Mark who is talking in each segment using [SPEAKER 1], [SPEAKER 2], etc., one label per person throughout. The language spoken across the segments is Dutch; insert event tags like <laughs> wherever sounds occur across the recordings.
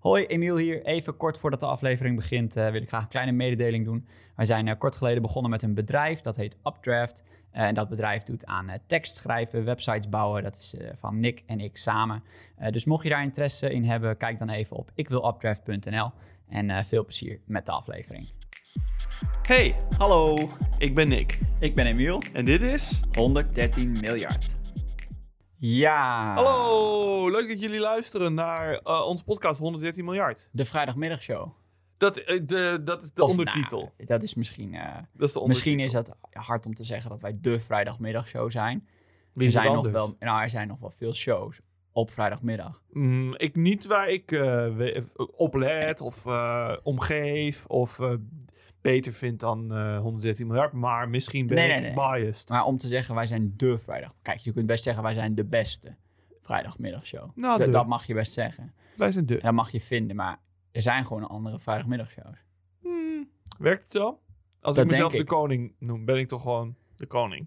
[SPEAKER 1] Hoi, Emiel hier. Even kort voordat de aflevering begint eh, wil ik graag een kleine mededeling doen. Wij zijn eh, kort geleden begonnen met een bedrijf, dat heet Updraft. Eh, en dat bedrijf doet aan eh, tekst schrijven, websites bouwen. Dat is eh, van Nick en ik samen. Eh, dus mocht je daar interesse in hebben, kijk dan even op ikwilupdraft.nl. En eh, veel plezier met de aflevering.
[SPEAKER 2] Hey,
[SPEAKER 3] Hallo,
[SPEAKER 2] ik ben Nick
[SPEAKER 3] ik ben Emiel.
[SPEAKER 2] en dit is...
[SPEAKER 3] 113 miljard.
[SPEAKER 1] Ja.
[SPEAKER 2] Hallo, Oh, leuk dat jullie luisteren naar eh, onze podcast 113 miljard.
[SPEAKER 1] De vrijdagmiddagshow.
[SPEAKER 2] Dat, eh, de, dat is de
[SPEAKER 1] Of,
[SPEAKER 2] ondertitel.
[SPEAKER 1] nou, dat is misschien... eh,
[SPEAKER 2] dat is de ondertitel.
[SPEAKER 1] Misschien is dat hard om te zeggen dat wij de vrijdagmiddagshow zijn. Er
[SPEAKER 2] Wie is het
[SPEAKER 1] zijn nog
[SPEAKER 2] anders?
[SPEAKER 1] wel, nou, er zijn nog wel veel shows op vrijdagmiddag.
[SPEAKER 2] Mm, ik niet waar ik eh, we- op let of eh, omgeef of eh, beter vind dan eh, 113 miljard. Maar misschien ben
[SPEAKER 1] Nee, nee,
[SPEAKER 2] ik
[SPEAKER 1] nee.
[SPEAKER 2] biased.
[SPEAKER 1] Maar om te zeggen wij zijn de vrijdag. Kijk, je kunt best zeggen wij zijn de beste vrijdagmiddagshow.
[SPEAKER 2] Nou,
[SPEAKER 1] dat,
[SPEAKER 2] de.
[SPEAKER 1] dat mag je best zeggen.
[SPEAKER 2] Wij zijn de...
[SPEAKER 1] En dat mag je vinden, maar er zijn gewoon andere vrijdagmiddagshows.
[SPEAKER 2] Mm, werkt het zo? Als
[SPEAKER 1] Dat
[SPEAKER 2] ik mezelf
[SPEAKER 1] denk
[SPEAKER 2] de
[SPEAKER 1] ik.
[SPEAKER 2] koning noem, ben ik toch gewoon de koning.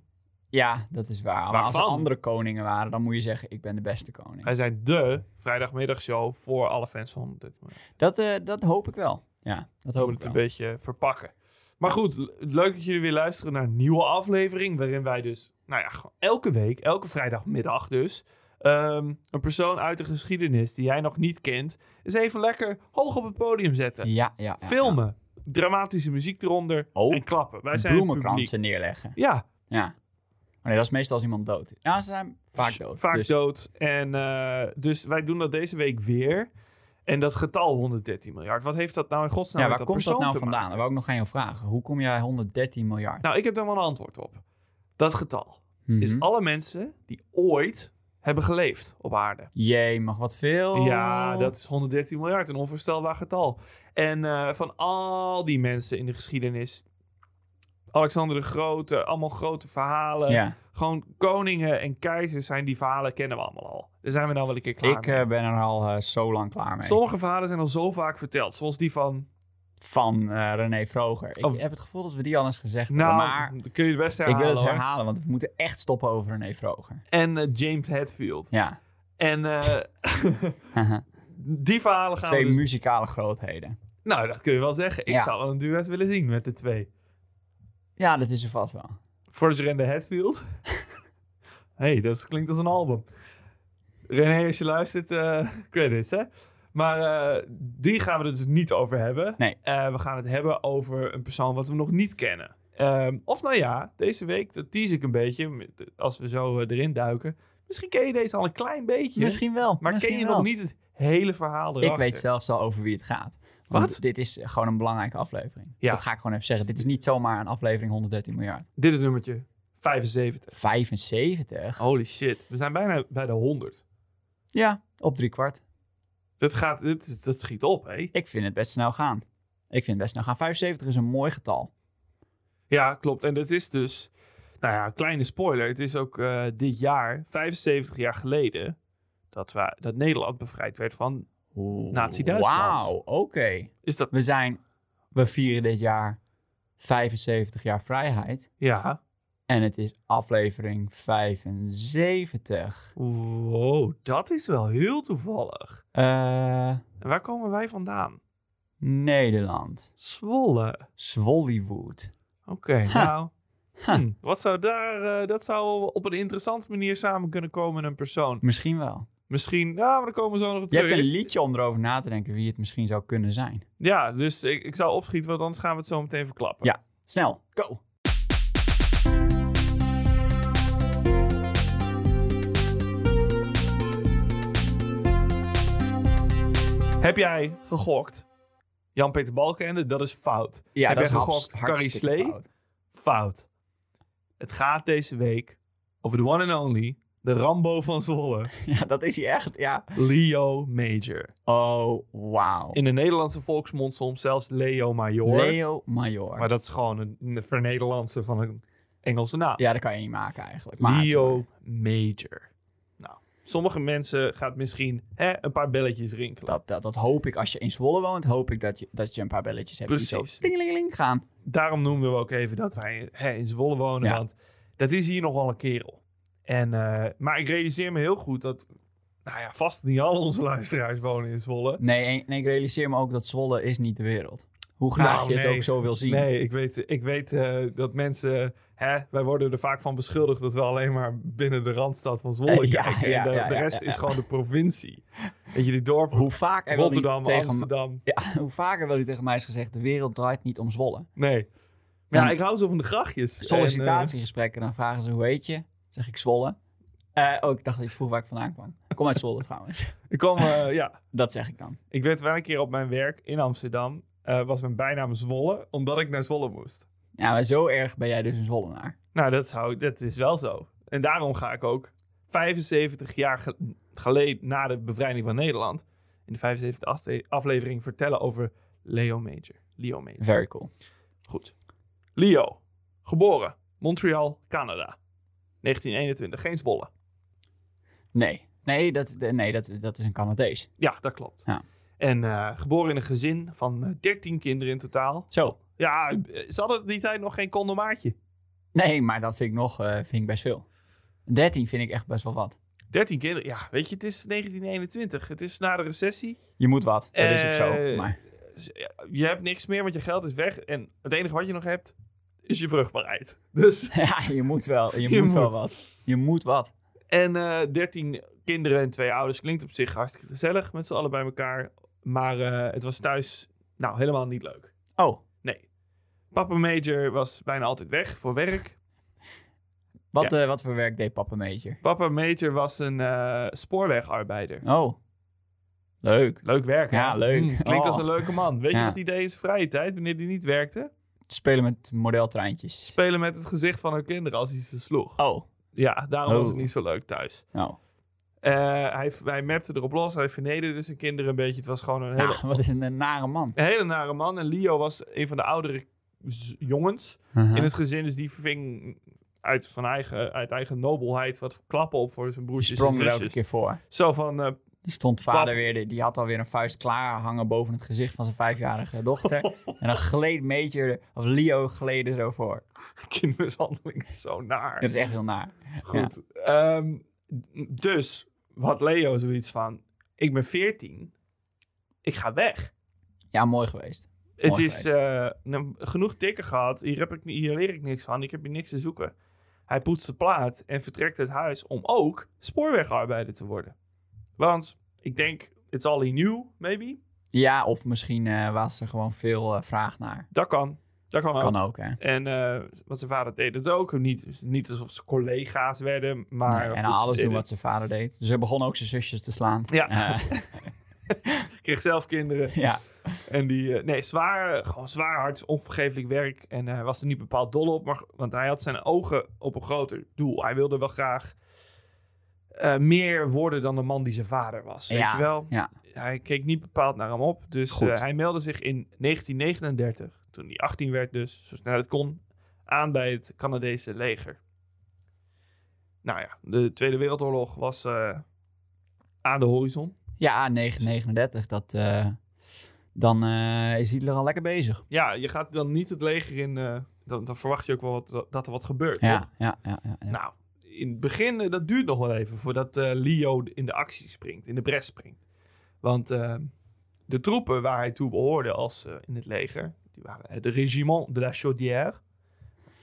[SPEAKER 1] Ja, dat is waar. Maar als er
[SPEAKER 2] Waarvan?
[SPEAKER 1] andere koningen waren, dan moet je zeggen ik ben de beste koning.
[SPEAKER 2] Wij zijn de vrijdagmiddagshow voor alle fans van 113 miljard.
[SPEAKER 1] Dat, eh, dat hoop ik wel. Ja, dat hoop
[SPEAKER 2] moet
[SPEAKER 1] ik
[SPEAKER 2] het een
[SPEAKER 1] wel.
[SPEAKER 2] beetje verpakken. Maar goed, le- leuk dat jullie weer luisteren naar een nieuwe aflevering. Waarin wij dus, nou ja, gewoon elke week, elke vrijdagmiddag dus. ehm, een persoon uit de geschiedenis die jij nog niet kent. eens even lekker hoog op het podium zetten.
[SPEAKER 1] Ja, ja, ja.
[SPEAKER 2] Filmen. Dramatische muziek eronder.
[SPEAKER 1] Oh,
[SPEAKER 2] en klappen. Wij zijn het publiek.
[SPEAKER 1] Bloemenkransen neerleggen.
[SPEAKER 2] Ja,
[SPEAKER 1] Ja. Maar nee, dat is meestal als iemand dood is. Ja, ze zijn vaak dood.
[SPEAKER 2] vaak
[SPEAKER 1] dus
[SPEAKER 2] dood. En eh, dus wij doen dat deze week weer. En dat getal 113 miljard. Wat heeft dat nou in godsnaam
[SPEAKER 1] Ja,
[SPEAKER 2] met
[SPEAKER 1] waar
[SPEAKER 2] dat
[SPEAKER 1] komt dat
[SPEAKER 2] persoon
[SPEAKER 1] nou
[SPEAKER 2] te maken?
[SPEAKER 1] vandaan? Dat wou ik nog aan jou vragen. Hoe kom jij 113 miljard?
[SPEAKER 2] Nou, ik heb daar wel een antwoord op. Dat getal. is
[SPEAKER 1] Mhm.
[SPEAKER 2] alle mensen die ooit hebben geleefd op aarde.
[SPEAKER 1] Jee, mag wat veel.
[SPEAKER 2] Ja, dat is 113 miljard, een onvoorstelbaar getal. En eh, van al die mensen in de geschiedenis, Alexander de Grote, allemaal grote verhalen.
[SPEAKER 1] Ja,
[SPEAKER 2] Gewoon koningen en keizers zijn die verhalen kennen we allemaal al. Daar zijn we nou wel een keer klaar
[SPEAKER 1] ik
[SPEAKER 2] mee.
[SPEAKER 1] eh, ben er al eh, zo lang klaar mee.
[SPEAKER 2] Sommige verhalen zijn al zo vaak verteld, zoals die van...
[SPEAKER 1] Van eh René Vroger. Ik
[SPEAKER 2] Oh.
[SPEAKER 1] heb het gevoel dat we die al eens gezegd
[SPEAKER 2] Nou,
[SPEAKER 1] hebben. Maar
[SPEAKER 2] dat kun je het best
[SPEAKER 1] ik
[SPEAKER 2] herhalen.
[SPEAKER 1] wil het
[SPEAKER 2] hoor.
[SPEAKER 1] herhalen, want we moeten echt stoppen over René Vroger.
[SPEAKER 2] En eh, James Hetfield.
[SPEAKER 1] Ja,
[SPEAKER 2] En eh, <laughs> die verhalen gaan we
[SPEAKER 1] twee
[SPEAKER 2] dus
[SPEAKER 1] muzikale grootheden.
[SPEAKER 2] Nou, dat kun je wel zeggen. Ik
[SPEAKER 1] Ja.
[SPEAKER 2] zou wel een duet willen zien met de twee.
[SPEAKER 1] Ja, dat is er vast wel.
[SPEAKER 2] Forger en de Hatfield.
[SPEAKER 1] <laughs>
[SPEAKER 2] hey, dat klinkt als een album. René, als je luistert, eh, credits, hè? Maar eh, die gaan we er dus niet over hebben.
[SPEAKER 1] Nee.
[SPEAKER 2] Eh, we gaan het hebben over een persoon wat we nog niet kennen. Ehm, of nou ja, deze week, dat tease ik een beetje, met- als we zo eh, erin duiken. Misschien ken je deze al een klein beetje.
[SPEAKER 1] Misschien wel.
[SPEAKER 2] maar
[SPEAKER 1] misschien
[SPEAKER 2] ken je
[SPEAKER 1] wel.
[SPEAKER 2] nog niet het hele verhaal erachter.
[SPEAKER 1] Ik weet zelfs al over wie het gaat. Want
[SPEAKER 2] Wat?
[SPEAKER 1] Dit is gewoon een belangrijke aflevering.
[SPEAKER 2] Ja.
[SPEAKER 1] Dat ga ik gewoon even zeggen. Dit is niet zomaar een aflevering 113 miljard.
[SPEAKER 2] Dit is nummertje 75.
[SPEAKER 1] 75?
[SPEAKER 2] Holy shit, we zijn bijna bij de 100.
[SPEAKER 1] Ja, op drie kwart.
[SPEAKER 2] Dat, gaat, dit is- dat schiet op, hé.
[SPEAKER 1] Ik vind het best snel gaan. Ik vind het best snel gaan. 75 is een mooi getal.
[SPEAKER 2] Ja, klopt. En dat is dus... Nou ja, kleine spoiler. Het is ook eh, dit jaar, 75 jaar geleden... Dat, we, dat Nederland bevrijd werd van...
[SPEAKER 1] Oeh,
[SPEAKER 2] Nazi-Duitsland.
[SPEAKER 1] Wauw, oké.
[SPEAKER 2] Is dat...
[SPEAKER 1] We zijn, we vieren dit jaar 75 jaar vrijheid.
[SPEAKER 2] Ja.
[SPEAKER 1] En het is aflevering 75.
[SPEAKER 2] Wow, dat is wel heel toevallig.
[SPEAKER 1] Eh,
[SPEAKER 2] En waar komen wij vandaan?
[SPEAKER 1] Nederland.
[SPEAKER 2] Zwolle.
[SPEAKER 1] Zwollywood.
[SPEAKER 2] Oké, nou... hm, wat zou daar... eh, dat zou op een interessante manier samen kunnen komen in een persoon.
[SPEAKER 1] Misschien wel.
[SPEAKER 2] Misschien... Ja, maar daar komen we zo nog op
[SPEAKER 1] Je hebt
[SPEAKER 2] terug.
[SPEAKER 1] een
[SPEAKER 2] Is-
[SPEAKER 1] liedje om erover na te denken wie het misschien zou kunnen zijn.
[SPEAKER 2] Ja, dus ik, ik zou opschieten, want anders gaan we het zo meteen verklappen.
[SPEAKER 1] Ja, snel. Go.
[SPEAKER 2] Heb jij gegokt? Jan-Peter Balkenende, dat is fout.
[SPEAKER 1] Ja,
[SPEAKER 2] Heb
[SPEAKER 1] dat is
[SPEAKER 2] jij gegokt
[SPEAKER 1] hart- hartstikke
[SPEAKER 2] Carrie Slee?
[SPEAKER 1] fout. <laughs>
[SPEAKER 2] Fout. Het gaat deze week over de one and only, de Rambo van Zwolle,
[SPEAKER 1] Ja, dat is hij echt. Ja.
[SPEAKER 2] Leo Major.
[SPEAKER 1] Oh, wauw.
[SPEAKER 2] In de Nederlandse volksmond soms zelfs Leo Major.
[SPEAKER 1] Leo Major.
[SPEAKER 2] Maar dat is gewoon een, een vernederlandse van een Engelse naam.
[SPEAKER 1] Ja, dat kan je niet maken eigenlijk. Maar
[SPEAKER 2] Leo Major. Nou, sommige mensen gaat misschien hè, een paar belletjes rinkelen.
[SPEAKER 1] Dat, dat, dat hoop ik als je in Zwolle woont, hoop ik dat je, dat je een paar belletjes hebt die
[SPEAKER 2] Precies.
[SPEAKER 1] zo tingelingeling gaan.
[SPEAKER 2] daarom noemden we ook even dat wij hè, in Zwolle wonen.
[SPEAKER 1] Ja.
[SPEAKER 2] Want dat is hier nogal een kerel. En, eh, maar ik realiseer me heel goed dat Nou ja, vast niet al onze luisteraars wonen in Zwolle.
[SPEAKER 1] Nee, en, en ik realiseer me ook dat Zwolle is niet de wereld. Hoe graag
[SPEAKER 2] Nou,
[SPEAKER 1] je
[SPEAKER 2] nee.
[SPEAKER 1] het ook zo wil zien.
[SPEAKER 2] Nee, ik weet, ik weet eh, dat mensen... Hè, wij worden er vaak van beschuldigd dat we alleen maar binnen de randstad van Zwolle
[SPEAKER 1] Eh, <laughs> ja,
[SPEAKER 2] kijken. En
[SPEAKER 1] ja,
[SPEAKER 2] de,
[SPEAKER 1] ja,
[SPEAKER 2] de
[SPEAKER 1] ja,
[SPEAKER 2] rest
[SPEAKER 1] ja,
[SPEAKER 2] is gewoon de
[SPEAKER 1] <laughs>
[SPEAKER 2] provincie. Weet je, die dorpen,
[SPEAKER 1] Hoe vaak er wel niet
[SPEAKER 2] Rotterdam,
[SPEAKER 1] tegen
[SPEAKER 2] Amsterdam.
[SPEAKER 1] Ja, <laughs> hoe vaker wel niet tegen mij is gezegd, de wereld draait niet om Zwolle.
[SPEAKER 2] Nee. Maar ja,
[SPEAKER 1] En-
[SPEAKER 2] ik hou zo van de grachjes.
[SPEAKER 1] Sollicitatiegesprekken, dan vragen ze hoe heet je? Zeg ik Zwolle. Eh, oh, ik dacht dat je vroeg waar ik vandaan kwam. Ik kom uit Zwolle <laughs> trouwens.
[SPEAKER 2] En, eh, ik kwam, eh, ja,
[SPEAKER 1] Dat zeg ik dan.
[SPEAKER 2] ik werd wel een keer op mijn werk in Amsterdam. eh, was mijn bijnaam Zwolle, omdat ik naar Zwolle moest.
[SPEAKER 1] Ja, maar zo erg ben jij dus een Zwollenaar.
[SPEAKER 2] Nou, dat, zou, dat is wel zo. En daarom ga ik ook 75 jaar ge- geleden na de bevrijding van Nederland... in de 75 afle- aflevering vertellen over Leo Major. Leo Major.
[SPEAKER 1] Very cool.
[SPEAKER 2] Goed. Leo, geboren Montreal, Canada. 1921, geen Zwolle.
[SPEAKER 1] Nee, nee, dat, nee dat, dat is een Canadees.
[SPEAKER 2] Ja, dat klopt.
[SPEAKER 1] Ja.
[SPEAKER 2] En eh, geboren in een gezin van eh, 13 kinderen in totaal.
[SPEAKER 1] Zo.
[SPEAKER 2] Ja, eh, ze hadden die tijd nog geen condomaatje.
[SPEAKER 1] Nee, maar dat vind ik nog eh, vind ik best veel. 13 vind ik echt best wel wat.
[SPEAKER 2] 13 kinderen, ja, weet je, het is 1921. Het is na de recessie.
[SPEAKER 1] Je moet wat, dat is ook zo.
[SPEAKER 2] Eh,
[SPEAKER 1] Maar <laughs>
[SPEAKER 2] Z- ja, Je hebt niks meer, want je geld is weg. En het enige wat je nog hebt, is je vruchtbaarheid. <laughs> Dus,
[SPEAKER 1] ja, je moet wel, je,
[SPEAKER 2] Je
[SPEAKER 1] moet wel
[SPEAKER 2] moet.
[SPEAKER 1] wat. Je moet wat.
[SPEAKER 2] en eh 13 kinderen en twee ouders klinkt op zich hartstikke gezellig met z'n allen bij elkaar. Maar eh, het was thuis, nou, helemaal niet leuk.
[SPEAKER 1] Oh,
[SPEAKER 2] Nee. Papa Major was bijna altijd weg voor werk.
[SPEAKER 1] wat, eh, wat voor werk deed papa Major?
[SPEAKER 2] Papa Major was een eh, spoorwegarbeider.
[SPEAKER 1] Oh, leuk.
[SPEAKER 2] Leuk werk, hè?
[SPEAKER 1] Ja, leuk.
[SPEAKER 2] Mm, klinkt
[SPEAKER 1] Oh.
[SPEAKER 2] als een leuke man. Weet
[SPEAKER 1] Ja.
[SPEAKER 2] je wat hij deed in zijn vrije tijd, wanneer hij niet werkte?
[SPEAKER 1] Spelen met modeltreintjes.
[SPEAKER 2] Spelen met het gezicht van hun kinderen als hij ze sloeg.
[SPEAKER 1] Oh,
[SPEAKER 2] Ja, daarom was het
[SPEAKER 1] Oh.
[SPEAKER 2] niet zo leuk thuis.
[SPEAKER 1] nou.
[SPEAKER 2] Eh, hij, hij mapte erop los, hij vernederde zijn kinderen een beetje. Het was gewoon een hele,
[SPEAKER 1] Nou, wat is een, eh, nare man.
[SPEAKER 2] een hele nare man. En Leo was een van de oudere z- jongens
[SPEAKER 1] Uh-huh.
[SPEAKER 2] in het gezin. Dus die ving uit, van eigen, uit eigen nobelheid wat klappen op voor
[SPEAKER 1] Die
[SPEAKER 2] zijn broertjes en
[SPEAKER 1] sprong er elke
[SPEAKER 2] zusjes.
[SPEAKER 1] keer voor.
[SPEAKER 2] Zo van, eh,
[SPEAKER 1] Die stond vader
[SPEAKER 2] Pap.
[SPEAKER 1] weer, die- die had alweer een vuist klaar hangen boven het gezicht van zijn vijfjarige
[SPEAKER 2] <laughs>
[SPEAKER 1] dochter. en dan gleed Major, of Leo gleden zo voor.
[SPEAKER 2] kindermishandeling is zo naar.
[SPEAKER 1] Dat is echt heel naar.
[SPEAKER 2] Goed. Ehm, dus wat Leo zoiets van: ik ben 14, ik ga weg.
[SPEAKER 1] Ja, mooi geweest.
[SPEAKER 2] Het
[SPEAKER 1] Mooi
[SPEAKER 2] is eh, nou, genoeg tikken gehad. Hier, heb ik, ni- hier leer ik niks van. Ik heb hier niks te zoeken. Hij poetst de plaat en vertrekt het huis om ook spoorwegarbeider te worden. Want ik denk, it's all he knew, maybe.
[SPEAKER 1] Ja, of misschien eh, was er gewoon veel eh, vraag naar.
[SPEAKER 2] Dat kan. Dat kan ook.
[SPEAKER 1] Kan ook, hè.
[SPEAKER 2] En eh, wat zijn vader deed het ook. Niet, niet alsof ze collega's werden, maar...
[SPEAKER 1] Nee, en
[SPEAKER 2] goed, ze
[SPEAKER 1] alles doen
[SPEAKER 2] deden-
[SPEAKER 1] wat zijn vader deed. Dus hij begon ook zijn zusjes te slaan.
[SPEAKER 2] Ja.
[SPEAKER 1] Eh,
[SPEAKER 2] <laughs>
[SPEAKER 1] <laughs>
[SPEAKER 2] Kreeg zelf kinderen.
[SPEAKER 1] ja.
[SPEAKER 2] En die, eh, nee, zwaar, gewoon zwaar hard, onvergeeflijk werk. En eh, hij was er niet bepaald dol op, maar, want hij had zijn ogen op een groter doel. Hij wilde wel graag eh, meer worden dan de man die zijn vader was. Weet
[SPEAKER 1] Ja,
[SPEAKER 2] je wel?
[SPEAKER 1] ja.
[SPEAKER 2] Hij keek niet bepaald naar hem op. Dus
[SPEAKER 1] Goed.
[SPEAKER 2] eh, hij meldde zich in 1939, toen hij 18 werd dus, zo snel het kon, aan bij het Canadese leger. Nou ja, de Tweede Wereldoorlog was eh, aan de horizon.
[SPEAKER 1] ja, 939, dat... eh, dan eh, is Hitler al lekker bezig.
[SPEAKER 2] Ja, je gaat dan niet het leger in. eh, dan, dan verwacht je ook wel wat, dat er wat gebeurt. Toch?
[SPEAKER 1] Ja, ja, ja. ja, ja.
[SPEAKER 2] Nou, in het begin, eh, dat duurt nog wel even voordat eh, Leo in de actie springt, in de bres springt. Want eh, de troepen waar hij toe behoorde als eh, in het leger, die waren het regiment de la Chaudière.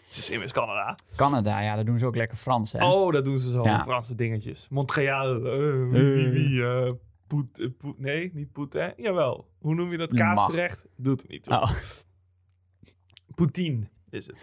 [SPEAKER 2] Dus immers Canada.
[SPEAKER 1] Canada, ja, daar doen ze ook lekker Frans, hè?
[SPEAKER 2] Oh, dat doen ze zo,
[SPEAKER 1] Ja.
[SPEAKER 2] Franse dingetjes. Montreal, eh, wie, wie, wie, eh, Poet, eh, Poet- nee, niet Poetin. Jawel, hoe noem je dat
[SPEAKER 1] Je mag.
[SPEAKER 2] kaasgerecht? Doet er niet toe.
[SPEAKER 1] Oh,
[SPEAKER 2] Poutine is het.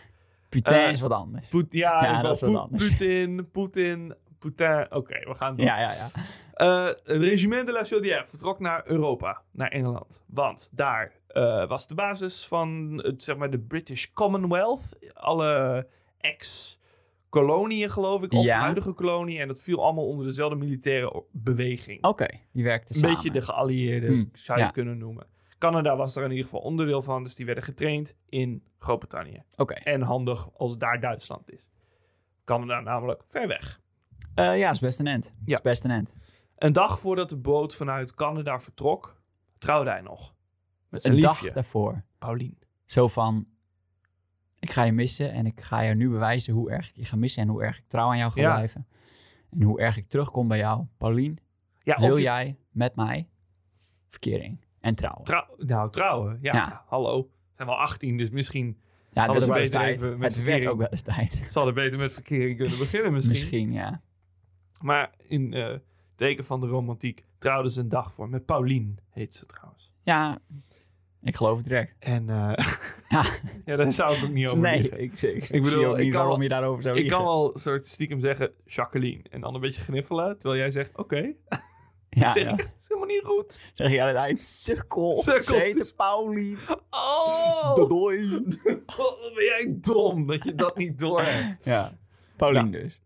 [SPEAKER 1] Putain
[SPEAKER 2] Eh,
[SPEAKER 1] is wat anders.
[SPEAKER 2] Poet- ja,
[SPEAKER 1] Ja,
[SPEAKER 2] ik
[SPEAKER 1] dat is
[SPEAKER 2] wou
[SPEAKER 1] wat
[SPEAKER 2] Poet-
[SPEAKER 1] anders.
[SPEAKER 2] Poetin, Poetin, Poetin. Oké, we gaan door.
[SPEAKER 1] Ja, ja, ja.
[SPEAKER 2] Eh, het regiment de la Chaudière vertrok naar Europa, naar Engeland. Want daar eh, was de basis van het, zeg maar, de British Commonwealth. Alle ex-koloniën, geloof ik, of
[SPEAKER 1] Ja.
[SPEAKER 2] huidige koloniën. En dat viel allemaal onder dezelfde militaire o- beweging.
[SPEAKER 1] Oké, die werkte
[SPEAKER 2] Een
[SPEAKER 1] Oh, samen.
[SPEAKER 2] beetje de geallieerden,
[SPEAKER 1] Hmm,
[SPEAKER 2] zou je
[SPEAKER 1] ja.
[SPEAKER 2] kunnen noemen. Canada was er in ieder geval onderdeel van, dus die werden getraind in Groot-Brittannië.
[SPEAKER 1] Oké.
[SPEAKER 2] En handig als daar Duitsland is. Canada namelijk ver weg.
[SPEAKER 1] Eh, ja, is best een end.
[SPEAKER 2] Ja.
[SPEAKER 1] Is best een end.
[SPEAKER 2] Een dag voordat de boot vanuit Canada vertrok, trouwde hij nog. Met zijn
[SPEAKER 1] Een dag eh,
[SPEAKER 2] liefje,
[SPEAKER 1] daarvoor.
[SPEAKER 2] Paulien.
[SPEAKER 1] Zo van, ik ga je missen en ik ga je nu bewijzen hoe erg ik je ga missen en hoe erg ik trouw aan jou ga
[SPEAKER 2] Ja.
[SPEAKER 1] blijven. En hoe erg ik terugkom bij jou. Paulien,
[SPEAKER 2] Ja, of
[SPEAKER 1] Wil
[SPEAKER 2] je-
[SPEAKER 1] jij met mij verkering en trouwen?
[SPEAKER 2] Trouw- nou, trouwen. Ja,
[SPEAKER 1] Ja.
[SPEAKER 2] hallo. We zijn wel 18, dus misschien
[SPEAKER 1] ja, het
[SPEAKER 2] Hadden
[SPEAKER 1] werd
[SPEAKER 2] ze
[SPEAKER 1] ook wel eens
[SPEAKER 2] beter
[SPEAKER 1] tijd.
[SPEAKER 2] even
[SPEAKER 1] Het
[SPEAKER 2] met
[SPEAKER 1] werd
[SPEAKER 2] verkering.
[SPEAKER 1] ook wel eens tijd.
[SPEAKER 2] zal er beter met verkering kunnen beginnen misschien.
[SPEAKER 1] Misschien, ja.
[SPEAKER 2] Maar in eh, teken van de romantiek trouwden ze een dag voor. Met Pauline heet ze trouwens.
[SPEAKER 1] Ja, ik geloof het direct.
[SPEAKER 2] En eh,
[SPEAKER 1] Ja.
[SPEAKER 2] <laughs> ja, daar zou ik ook niet over
[SPEAKER 1] nee,
[SPEAKER 2] liegen.
[SPEAKER 1] ik, ik,
[SPEAKER 2] bedoel,
[SPEAKER 1] zie ook
[SPEAKER 2] ik
[SPEAKER 1] niet
[SPEAKER 2] kan
[SPEAKER 1] waarom
[SPEAKER 2] wel-
[SPEAKER 1] je daarover zou
[SPEAKER 2] Ik
[SPEAKER 1] liegen.
[SPEAKER 2] kan wel soort stiekem zeggen Jacqueline en dan een beetje gniffelen. Terwijl jij zegt, oké,
[SPEAKER 1] ja,
[SPEAKER 2] zeg
[SPEAKER 1] ja.
[SPEAKER 2] ik, is helemaal niet
[SPEAKER 1] <laughs>
[SPEAKER 2] goed.
[SPEAKER 1] Zeg je aan het eind, sukkel.
[SPEAKER 2] Sukkel,
[SPEAKER 1] Ze heette
[SPEAKER 2] het is- <laughs>
[SPEAKER 1] Pauli.
[SPEAKER 2] Oh,
[SPEAKER 1] Doei.
[SPEAKER 2] wat ben jij dom dat je dat niet door hebt.
[SPEAKER 1] Ja, Paulien dus.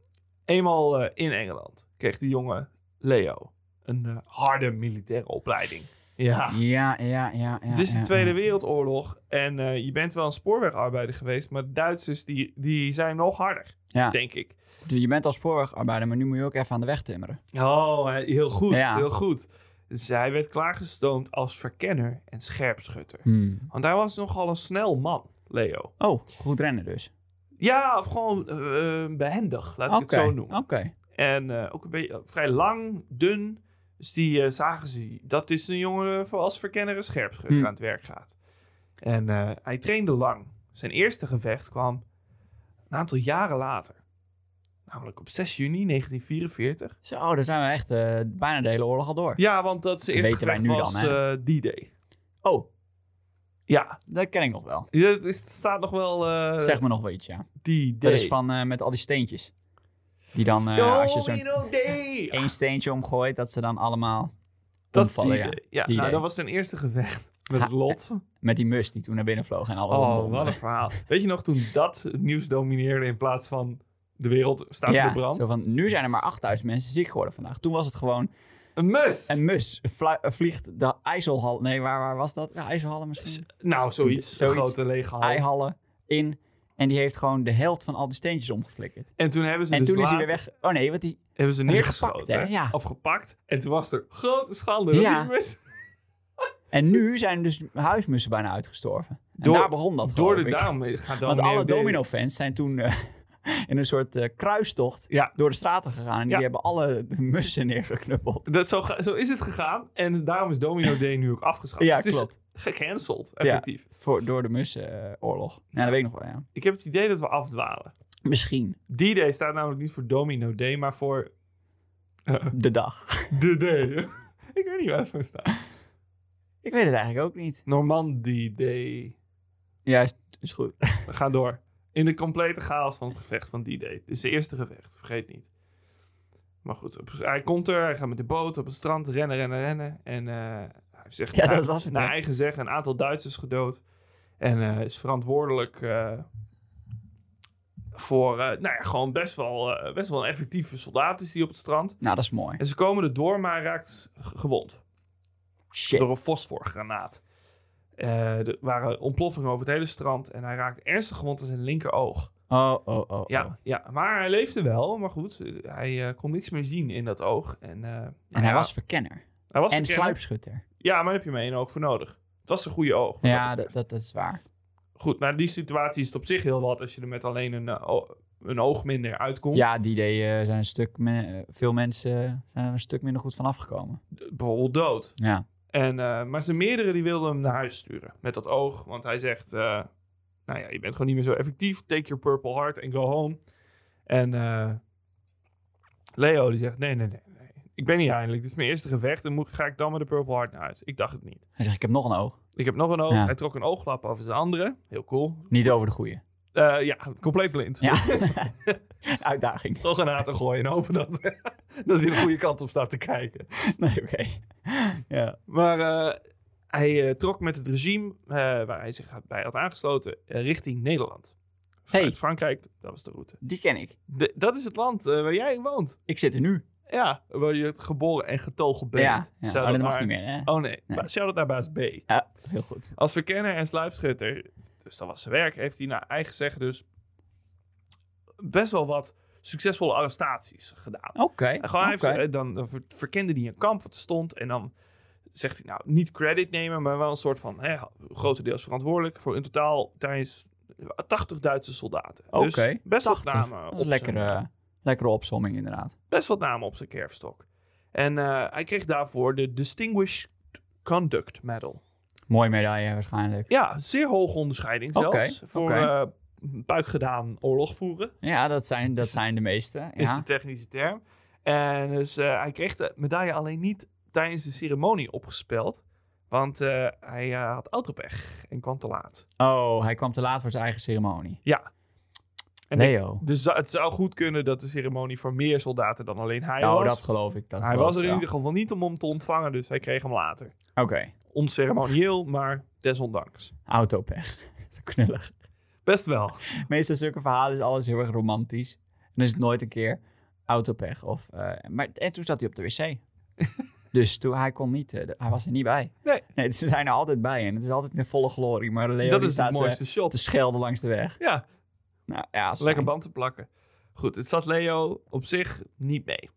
[SPEAKER 2] Eenmaal eh, in Engeland kreeg die jongen Leo een eh, harde militaire opleiding. Ja.
[SPEAKER 1] Ja, ja, ja. ja
[SPEAKER 2] Ah. Het is de
[SPEAKER 1] ja,
[SPEAKER 2] Tweede
[SPEAKER 1] ja.
[SPEAKER 2] Wereldoorlog en eh, je bent wel een spoorwegarbeider geweest, maar de Duitsers die, die zijn nog harder,
[SPEAKER 1] Ja.
[SPEAKER 2] denk ik.
[SPEAKER 1] Je bent al spoorwegarbeider, maar nu moet je ook even aan de weg timmeren.
[SPEAKER 2] Oh, hè, heel goed,
[SPEAKER 1] Ja.
[SPEAKER 2] heel goed. Zij werd klaargestoomd als verkenner en scherpschutter.
[SPEAKER 1] Hmm.
[SPEAKER 2] Want hij was nogal een snel man, Leo.
[SPEAKER 1] Oh, goed rennen dus.
[SPEAKER 2] Ja, of gewoon eh, eh, behendig, laat
[SPEAKER 1] Oké,
[SPEAKER 2] ik het zo noemen.
[SPEAKER 1] oké.
[SPEAKER 2] En eh, ook een beetje eh, vrij lang, dun. Dus die eh, zagen ze. Dat is een jongen eh, voor als verkenner en scherpschutter
[SPEAKER 1] Hmm.
[SPEAKER 2] aan het werk gaat. En eh, hij trainde lang. Zijn eerste gevecht kwam een aantal jaren later. Namelijk op 6 juni 1944.
[SPEAKER 1] Zo, dan zijn we echt eh, bijna de hele oorlog al door.
[SPEAKER 2] Ja, want dat zijn eerste
[SPEAKER 1] Weten wij
[SPEAKER 2] gevecht
[SPEAKER 1] nu
[SPEAKER 2] was
[SPEAKER 1] dan, hè?
[SPEAKER 2] eh, D-Day.
[SPEAKER 1] Oh,
[SPEAKER 2] Ja,
[SPEAKER 1] dat ken ik nog wel.
[SPEAKER 2] het is- het staat nog wel eh,
[SPEAKER 1] Zeg me nog wel iets, ja.
[SPEAKER 2] D-Day.
[SPEAKER 1] Dat is van eh, met al die steentjes. Die dan, eh, als je zo'n
[SPEAKER 2] Domino Day!
[SPEAKER 1] één steentje omgooit, dat ze dan allemaal
[SPEAKER 2] dat is
[SPEAKER 1] omvallen, ja.
[SPEAKER 2] D-Day. Ja,
[SPEAKER 1] D-Day.
[SPEAKER 2] nou, dat was zijn eerste gevecht met
[SPEAKER 1] Ha,
[SPEAKER 2] het lot.
[SPEAKER 1] Met die mus die toen naar binnen vloog en alle
[SPEAKER 2] Oh,
[SPEAKER 1] rondom.
[SPEAKER 2] wat een verhaal. <laughs> Weet je nog toen dat het nieuws domineerde in plaats van de wereld staat in
[SPEAKER 1] ja,
[SPEAKER 2] de brand?
[SPEAKER 1] zo van, nu zijn er maar 8000 mensen ziek geworden vandaag. Toen was het gewoon
[SPEAKER 2] Een mus!
[SPEAKER 1] een mus vla- vliegt de IJsselhal. Nee, waar, waar was dat? Ja, IJsselhallen misschien?
[SPEAKER 2] nou, zoiets.
[SPEAKER 1] Zoiets.
[SPEAKER 2] Een grote lege hal.
[SPEAKER 1] IJhallen in. En die heeft gewoon de helft van al die steentjes omgeflikkerd.
[SPEAKER 2] En toen hebben ze
[SPEAKER 1] En
[SPEAKER 2] dus
[SPEAKER 1] toen is hij weer
[SPEAKER 2] later-
[SPEAKER 1] weg. Oh nee, want die.
[SPEAKER 2] Hebben ze
[SPEAKER 1] Hebben ze
[SPEAKER 2] neergeschoten.
[SPEAKER 1] gepakt, hè? Ja.
[SPEAKER 2] Of gepakt. En toen was er grote schande dat
[SPEAKER 1] Ja.
[SPEAKER 2] die mus
[SPEAKER 1] En nu zijn dus huismussen bijna uitgestorven. En
[SPEAKER 2] Door-
[SPEAKER 1] daar begon dat
[SPEAKER 2] door
[SPEAKER 1] geloof
[SPEAKER 2] de
[SPEAKER 1] ik.
[SPEAKER 2] duim gaat.
[SPEAKER 1] Want alle domino-fans zijn toen eh, <laughs> in een soort eh, kruistocht
[SPEAKER 2] Ja.
[SPEAKER 1] door de straten gegaan. En die
[SPEAKER 2] Ja.
[SPEAKER 1] hebben alle mussen neergeknuppeld.
[SPEAKER 2] Dat, zo, ga- zo is het gegaan. En daarom is Domino Day nu ook afgeschaft.
[SPEAKER 1] Ja,
[SPEAKER 2] het is
[SPEAKER 1] klopt.
[SPEAKER 2] gecanceld, effectief.
[SPEAKER 1] Voor, door de mussenoorlog. ja, dat weet ik nog wel, ja.
[SPEAKER 2] Ik heb het idee dat we afdwalen.
[SPEAKER 1] Misschien.
[SPEAKER 2] D-Day staat namelijk niet voor Domino Day, maar voor
[SPEAKER 1] De dag.
[SPEAKER 2] de Day. <laughs> ik weet niet waar het voor staat.
[SPEAKER 1] Ik weet het eigenlijk ook niet.
[SPEAKER 2] Normandie Day.
[SPEAKER 1] Ja, is, is goed.
[SPEAKER 2] We gaan door. In de complete chaos van het gevecht van die day. Dus de eerste gevecht, vergeet niet. Maar goed, op- hij komt er, hij gaat met de boot op het strand, rennen, rennen, rennen. En eh, hij zegt,
[SPEAKER 1] Ja,
[SPEAKER 2] na-
[SPEAKER 1] dat was het,
[SPEAKER 2] naar
[SPEAKER 1] hè?
[SPEAKER 2] eigen zeggen, een aantal Duitsers gedood. En eh, is verantwoordelijk eh, voor, eh, nou ja, gewoon best wel, eh, best wel een effectieve soldaat is die op het strand.
[SPEAKER 1] Nou, dat is mooi.
[SPEAKER 2] En ze komen er door, maar hij raakt g- gewond.
[SPEAKER 1] Shit.
[SPEAKER 2] door een fosforgranaat. Eh, er waren ontploffingen over het hele strand en hij raakte ernstig gewond aan zijn linkeroog.
[SPEAKER 1] Oh, oh, oh, oh.
[SPEAKER 2] Ja, ja, maar hij leefde wel, maar goed, eh, hij eh, kon niks meer zien in dat oog. En, eh, nou
[SPEAKER 1] En hij
[SPEAKER 2] ja,
[SPEAKER 1] was verkenner.
[SPEAKER 2] hij was
[SPEAKER 1] En
[SPEAKER 2] verkennen.
[SPEAKER 1] sluipschutter.
[SPEAKER 2] Ja, maar daar heb je maar één oog voor nodig. Het was een goede oog. wat
[SPEAKER 1] Ja,
[SPEAKER 2] dat
[SPEAKER 1] dat,
[SPEAKER 2] betreft.
[SPEAKER 1] dat, dat is waar.
[SPEAKER 2] Goed, nou die situatie is het op zich heel wat als je er met alleen een, eh, o- een oog minder uitkomt.
[SPEAKER 1] Ja, die idee eh, zijn een stuk... me- eh, veel mensen zijn er een stuk minder goed van afgekomen.
[SPEAKER 2] Bijvoorbeeld dood.
[SPEAKER 1] Ja.
[SPEAKER 2] En, eh, maar zijn meerdere die wilden hem naar huis sturen met dat oog. Want hij zegt, eh, nou ja, je bent gewoon niet meer zo effectief. Take your purple heart and go home. En eh, Leo die zegt, nee, nee, nee, nee. Ik ben niet eindelijk. Dit is mijn eerste gevecht. Dan moet, ga ik dan met de purple heart naar huis. Ik dacht het niet.
[SPEAKER 1] Hij zegt, ik heb nog een oog.
[SPEAKER 2] Ik heb nog een oog.
[SPEAKER 1] Ja.
[SPEAKER 2] Hij trok een ooglap over zijn andere. Heel cool.
[SPEAKER 1] Niet over de goeie.
[SPEAKER 2] Eh, ja, compleet blind. <laughs>
[SPEAKER 1] Ja. <laughs> Uitdaging.
[SPEAKER 2] Nog een te gooien en hopen dat, <laughs> dat hij de goede kant op staat te kijken.
[SPEAKER 1] Nee, oké. Ja.
[SPEAKER 2] Maar eh, hij eh, trok met het regime eh, waar hij zich bij had aangesloten eh, richting Nederland. Vanuit
[SPEAKER 1] Hey.
[SPEAKER 2] Frankrijk, dat was de route.
[SPEAKER 1] Die ken ik.
[SPEAKER 2] De- dat is het land eh, waar jij woont.
[SPEAKER 1] Ik zit er nu.
[SPEAKER 2] Ja, waar je het geboren en getogen bent.
[SPEAKER 1] Ja. ja.
[SPEAKER 2] Shout-out
[SPEAKER 1] Oh, dat mag
[SPEAKER 2] naar-
[SPEAKER 1] niet meer, hè?
[SPEAKER 2] Oh nee,
[SPEAKER 1] Nee.
[SPEAKER 2] nee. shout-out naar baas B.
[SPEAKER 1] Ja, heel goed.
[SPEAKER 2] Als verkenner en sluipschutter, dus dat was zijn werk, heeft hij naar eigen zeggen dus best wel wat succesvolle arrestaties gedaan.
[SPEAKER 1] Oké.
[SPEAKER 2] En Gewoon, hij heeft,
[SPEAKER 1] oké.
[SPEAKER 2] eh, dan dan ver- verkende hij een kamp wat er stond. En dan zegt hij, nou, niet credit nemen, maar wel een soort van hè, grotendeels verantwoordelijk voor in totaal tijdens 80 Duitse soldaten.
[SPEAKER 1] Oké.
[SPEAKER 2] Dus best
[SPEAKER 1] 80.
[SPEAKER 2] wat namen.
[SPEAKER 1] Dat
[SPEAKER 2] op
[SPEAKER 1] is
[SPEAKER 2] zijn-
[SPEAKER 1] lekkere, lekkere opsomming inderdaad.
[SPEAKER 2] Best wat namen op zijn kerfstok. En eh, hij kreeg daarvoor de Distinguished Conduct Medal.
[SPEAKER 1] Mooie medaille waarschijnlijk.
[SPEAKER 2] Ja, zeer hoge onderscheiding zelfs.
[SPEAKER 1] Oké,
[SPEAKER 2] voor
[SPEAKER 1] oké.
[SPEAKER 2] eh buik gedaan oorlog voeren,
[SPEAKER 1] Ja, dat zijn, dat zijn de meeste.
[SPEAKER 2] is de
[SPEAKER 1] Ja.
[SPEAKER 2] technische term. En dus eh, hij kreeg de medaille alleen niet tijdens de ceremonie opgespeld. Want eh, hij eh, had autopech en kwam te laat.
[SPEAKER 1] Oh, hij kwam te laat voor zijn eigen ceremonie.
[SPEAKER 2] Ja. En
[SPEAKER 1] Leo.
[SPEAKER 2] Dus za- het zou goed kunnen dat de ceremonie voor meer soldaten dan alleen hij
[SPEAKER 1] Oh,
[SPEAKER 2] was.
[SPEAKER 1] dat geloof ik. Dat
[SPEAKER 2] hij
[SPEAKER 1] geloof
[SPEAKER 2] was er
[SPEAKER 1] ik
[SPEAKER 2] in
[SPEAKER 1] wel.
[SPEAKER 2] ieder geval niet om hem te ontvangen, dus hij kreeg hem later.
[SPEAKER 1] Oké,
[SPEAKER 2] Onceremonieel, maar desondanks.
[SPEAKER 1] <laughs> autopech. Zo knullig.
[SPEAKER 2] Best wel.
[SPEAKER 1] Meestal zulke verhalen is alles heel erg romantisch. En dan is het nooit een keer autopech. Of, eh, maar, en toen zat hij op de
[SPEAKER 2] <laughs>
[SPEAKER 1] wc. dus toen, hij, kon niet, eh, de- hij was er niet bij.
[SPEAKER 2] Nee.
[SPEAKER 1] ze zijn er altijd bij en het is altijd in volle glorie. Maar Leo
[SPEAKER 2] dat
[SPEAKER 1] die
[SPEAKER 2] is
[SPEAKER 1] staat
[SPEAKER 2] het
[SPEAKER 1] eh,
[SPEAKER 2] mooiste shot.
[SPEAKER 1] te schelden langs de weg.
[SPEAKER 2] Ja,
[SPEAKER 1] Nou, ja, is
[SPEAKER 2] Lekker
[SPEAKER 1] fijn.
[SPEAKER 2] band te plakken. Goed, het zat Leo op zich niet mee.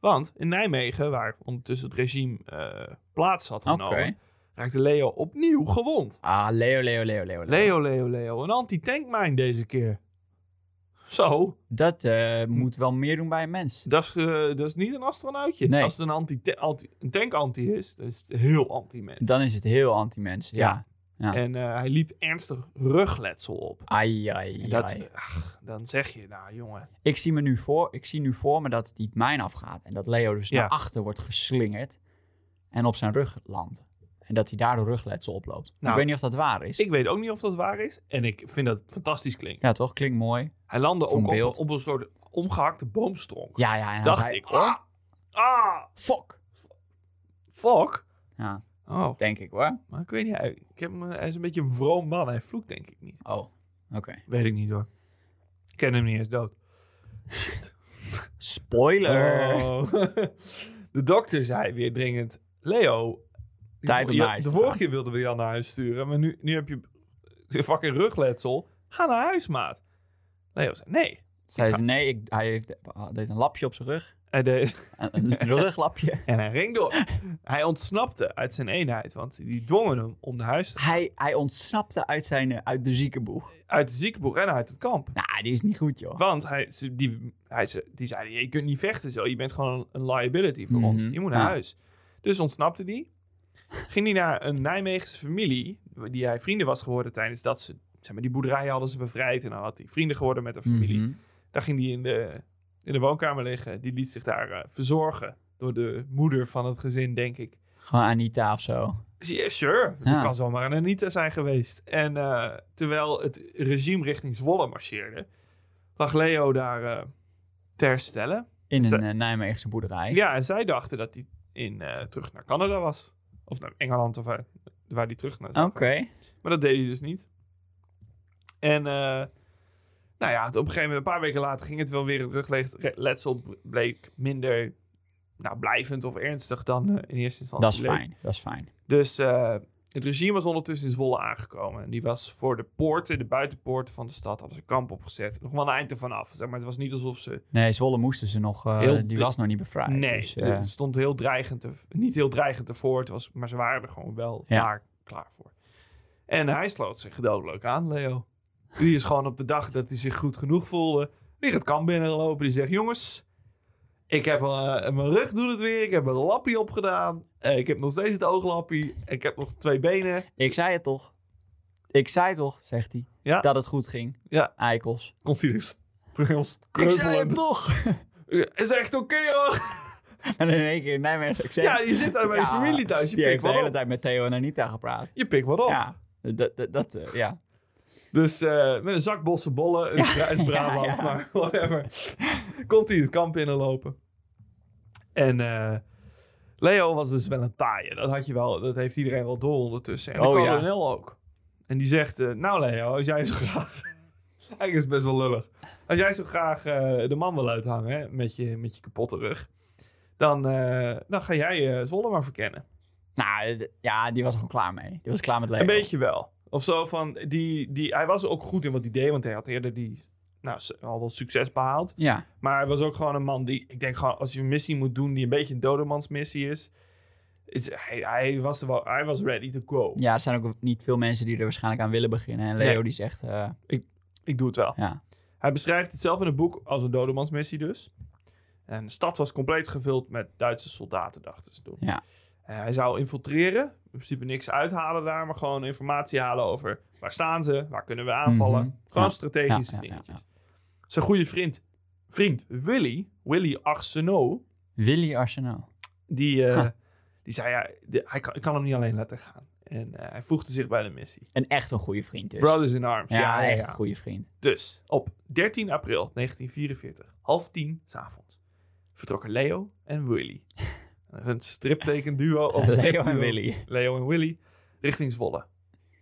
[SPEAKER 2] Want in Nijmegen, waar ondertussen het regime eh, plaats had
[SPEAKER 1] Oké.
[SPEAKER 2] genomen, raakte Leo opnieuw gewond.
[SPEAKER 1] Ah, Leo, Leo, Leo, Leo.
[SPEAKER 2] Leo, Leo, Leo. Een anti-tankmijn deze keer. Zo,
[SPEAKER 1] Dat eh, moet wel meer doen bij een mens.
[SPEAKER 2] dat is, eh, dat is niet een astronautje.
[SPEAKER 1] Nee.
[SPEAKER 2] Als het een, anti anti een tank-anti is, dan is het heel anti-mens.
[SPEAKER 1] Dan is het heel anti-mens. Ja. ja.
[SPEAKER 2] En eh, hij liep ernstig rugletsel op.
[SPEAKER 1] Ai, ai,
[SPEAKER 2] En dat,
[SPEAKER 1] ai.
[SPEAKER 2] is- ach, dan zeg je, nou jongen.
[SPEAKER 1] Ik zie me nu voor, ik zie nu voor me dat die mijn afgaat. En dat Leo dus
[SPEAKER 2] Ja.
[SPEAKER 1] naar achter wordt geslingerd. En op zijn rug landt. En dat hij daardoor rugletsel oploopt.
[SPEAKER 2] Nou,
[SPEAKER 1] ik weet niet of dat waar is.
[SPEAKER 2] Ik weet ook niet of dat waar is. En ik vind dat fantastisch klinken.
[SPEAKER 1] Ja, toch? Klinkt mooi.
[SPEAKER 2] Hij landde
[SPEAKER 1] Zo'n
[SPEAKER 2] ook op,
[SPEAKER 1] beeld.
[SPEAKER 2] op een soort omgehakte boomstronk.
[SPEAKER 1] Ja, ja. En hij
[SPEAKER 2] Dacht
[SPEAKER 1] zei,
[SPEAKER 2] ik. Ah, ah,
[SPEAKER 1] Fuck.
[SPEAKER 2] fuck.
[SPEAKER 1] Ja,
[SPEAKER 2] Oh,
[SPEAKER 1] denk ik hoor.
[SPEAKER 2] maar ik weet niet. Hij, ik heb, hem, eh, hij is een beetje een vroom man. Hij vloekt denk ik niet.
[SPEAKER 1] Oh, oké.
[SPEAKER 2] Weet ik niet hoor. Ik ken hem niet eens dood. Shit.
[SPEAKER 1] Spoiler.
[SPEAKER 2] Oh. <laughs> De dokter zei weer dringend... Leo,
[SPEAKER 1] Tijd om
[SPEAKER 2] je-
[SPEAKER 1] naar huis
[SPEAKER 2] de
[SPEAKER 1] te
[SPEAKER 2] vorige
[SPEAKER 1] gaan.
[SPEAKER 2] keer wilden we Jan naar huis sturen. Maar nu, nu heb je fucking rugletsel. Ga naar huis, maat. Leo zei nee.
[SPEAKER 1] Zei
[SPEAKER 2] Ik
[SPEAKER 1] ze, nee, ik, hij heeft, hij deed een lapje op zijn rug.
[SPEAKER 2] Hij deed...
[SPEAKER 1] Een, <laughs> een ruglapje.
[SPEAKER 2] En hij ging door. <laughs> hij ontsnapte uit zijn eenheid, want die dwongen hem om naar huis te
[SPEAKER 1] Hij, hij ontsnapte uit, zijn, eh, uit de ziekenboeg.
[SPEAKER 2] Uit de ziekenboeg en uit het kamp.
[SPEAKER 1] Nou, die is niet goed, joh.
[SPEAKER 2] Want hij, ze- die, hij, ze- die zei, je kunt niet vechten zo. Je bent gewoon een liability voor ons.
[SPEAKER 1] Mhm,
[SPEAKER 2] Je moet naar
[SPEAKER 1] ja.
[SPEAKER 2] huis. Dus ontsnapte die. Ging hij naar een Nijmeegse familie, die hij vrienden was geworden tijdens dat ze... Zeg maar, die boerderijen hadden ze bevrijd en dan had hij vrienden geworden met de familie.
[SPEAKER 1] Mhm.
[SPEAKER 2] Daar ging hij in de, in de woonkamer liggen. Die liet zich daar eh, verzorgen door de moeder van het gezin, denk ik.
[SPEAKER 1] Gewoon Anita of zo.
[SPEAKER 2] Yeah, sure.
[SPEAKER 1] Ja.
[SPEAKER 2] Het kan zomaar een Anita zijn geweest. En eh, terwijl het regime richting Zwolle marcheerde, lag Leo daar eh, ter stelle.
[SPEAKER 1] In
[SPEAKER 2] Ze-
[SPEAKER 1] een eh, Nijmeegse boerderij.
[SPEAKER 2] Ja, en zij dachten dat hij in, eh, terug naar Canada was. Of naar Engeland, of waar, waar hij terug naar
[SPEAKER 1] Oké.
[SPEAKER 2] Maar dat deed hij dus niet. En eh, nou ja, het- op een gegeven moment, een paar weken later, ging het wel weer. Het rugletsel bleek minder nou, blijvend of ernstig dan eh, in eerste instantie
[SPEAKER 1] Dat is
[SPEAKER 2] leek.
[SPEAKER 1] fijn, dat is fijn.
[SPEAKER 2] Dus eh, het regime was ondertussen in Zwolle aangekomen. En die was voor de poorten, de buitenpoorten van de stad, hadden ze kamp opgezet. Nog wel een eind ervan af. Zeg maar het was niet alsof ze.
[SPEAKER 1] Nee, Zwolle moesten ze nog, eh,
[SPEAKER 2] Heel
[SPEAKER 1] die
[SPEAKER 2] dru-
[SPEAKER 1] was nog niet bevrijd.
[SPEAKER 2] nee,
[SPEAKER 1] dus, eh,
[SPEAKER 2] het stond heel dreigend te, niet heel dreigend ervoor. Het was, maar ze waren er gewoon wel
[SPEAKER 1] Ja.
[SPEAKER 2] klaar, klaar voor. En hij sloot zich doodleuk aan, Leo. Die is gewoon op de dag dat hij zich goed genoeg voelde. Die gaat kamp binnenlopen. Die zegt: Jongens, ik heb eh, mijn rug doet het weer. Ik heb een lappie opgedaan. Eh, ik heb nog steeds het ooglappie. Ik heb nog twee benen.
[SPEAKER 1] Ik zei het toch. Ik zei toch, zegt hij,
[SPEAKER 2] Ja.
[SPEAKER 1] dat het goed ging.
[SPEAKER 2] Ja.
[SPEAKER 1] Eikels.
[SPEAKER 2] komt hij dus terug
[SPEAKER 1] Ik zei het toch.
[SPEAKER 2] Is echt oké hoor.
[SPEAKER 1] <laughs> en in één keer in Nijmegen. Ik zei,
[SPEAKER 2] Ja, je zit daar bij je
[SPEAKER 1] Ja,
[SPEAKER 2] familie thuis. Oh. Je
[SPEAKER 1] die
[SPEAKER 2] pikt
[SPEAKER 1] heeft de
[SPEAKER 2] wel
[SPEAKER 1] hele
[SPEAKER 2] op.
[SPEAKER 1] tijd met Theo en Anita gepraat.
[SPEAKER 2] Je pikt wat op.
[SPEAKER 1] Ja, dat, dat, dat, eh, ja.
[SPEAKER 2] Dus eh, met een zak bosse bollen uit, Bra- uit Brabant,
[SPEAKER 1] <laughs> ja, ja.
[SPEAKER 2] maar whatever. Komt hij het kamp binnenlopen. En eh, Leo was dus wel een taaie. Dat, had je wel, dat heeft iedereen wel door ondertussen. En
[SPEAKER 1] Oh,
[SPEAKER 2] de
[SPEAKER 1] ja.
[SPEAKER 2] kolonel ook. En die zegt, eh, nou Leo, als jij zo graag... <laughs> Eigenlijk is het best wel lullig. Als jij zo graag eh, de man wil uithangen hè, met, je, met je kapotte rug... Dan, eh, dan ga jij eh Zwolle maar verkennen.
[SPEAKER 1] Nou, d- ja, die was er gewoon klaar mee. Die was klaar met leven.
[SPEAKER 2] Een beetje wel. Of zo van, die, die, hij was ook goed in wat hij deed, want hij had eerder die, nou, s- al wel succes behaald.
[SPEAKER 1] Ja,
[SPEAKER 2] Maar hij was ook gewoon een man die, ik denk gewoon, als je een missie moet doen die een beetje een dodemansmissie is, is hij, hij, was er wel, hij was ready to go.
[SPEAKER 1] ja, er zijn ook niet veel mensen die er waarschijnlijk aan willen beginnen. En Leo
[SPEAKER 2] Nee.
[SPEAKER 1] die zegt, eh,
[SPEAKER 2] Ik doe het wel.
[SPEAKER 1] ja.
[SPEAKER 2] Hij beschrijft het zelf in het boek als een dodemansmissie dus. En de stad was compleet gevuld met Duitse soldaten, dachten ze toen.
[SPEAKER 1] Ja.
[SPEAKER 2] Eh, hij zou infiltreren, in principe niks uithalen daar, maar gewoon informatie halen over waar staan ze, waar kunnen we aanvallen.
[SPEAKER 1] Mhm. Ja.
[SPEAKER 2] Gewoon
[SPEAKER 1] Ja,
[SPEAKER 2] strategische
[SPEAKER 1] ja, ja,
[SPEAKER 2] dingetjes.
[SPEAKER 1] ja.
[SPEAKER 2] Zijn goede vriend, vriend Willy, Willy Arsenault,
[SPEAKER 1] Willy Arsenault.
[SPEAKER 2] die, eh,
[SPEAKER 1] Huh.
[SPEAKER 2] die zei ja, de- hij kan, ik kan hem niet alleen laten gaan. En eh, hij voegde zich bij de missie.
[SPEAKER 1] Een echt een goede vriend dus.
[SPEAKER 2] Brothers in Arms.
[SPEAKER 1] ja,
[SPEAKER 2] ja,
[SPEAKER 1] echt
[SPEAKER 2] ja.
[SPEAKER 1] een goede vriend.
[SPEAKER 2] Dus op 13 april 1944, half tien s'avonds, vertrokken Leo en
[SPEAKER 1] <laughs>
[SPEAKER 2] Willy. Een striptekenduo. Of een
[SPEAKER 1] Leo
[SPEAKER 2] stripduo.
[SPEAKER 1] en Willy.
[SPEAKER 2] Leo en Willy richting Zwolle.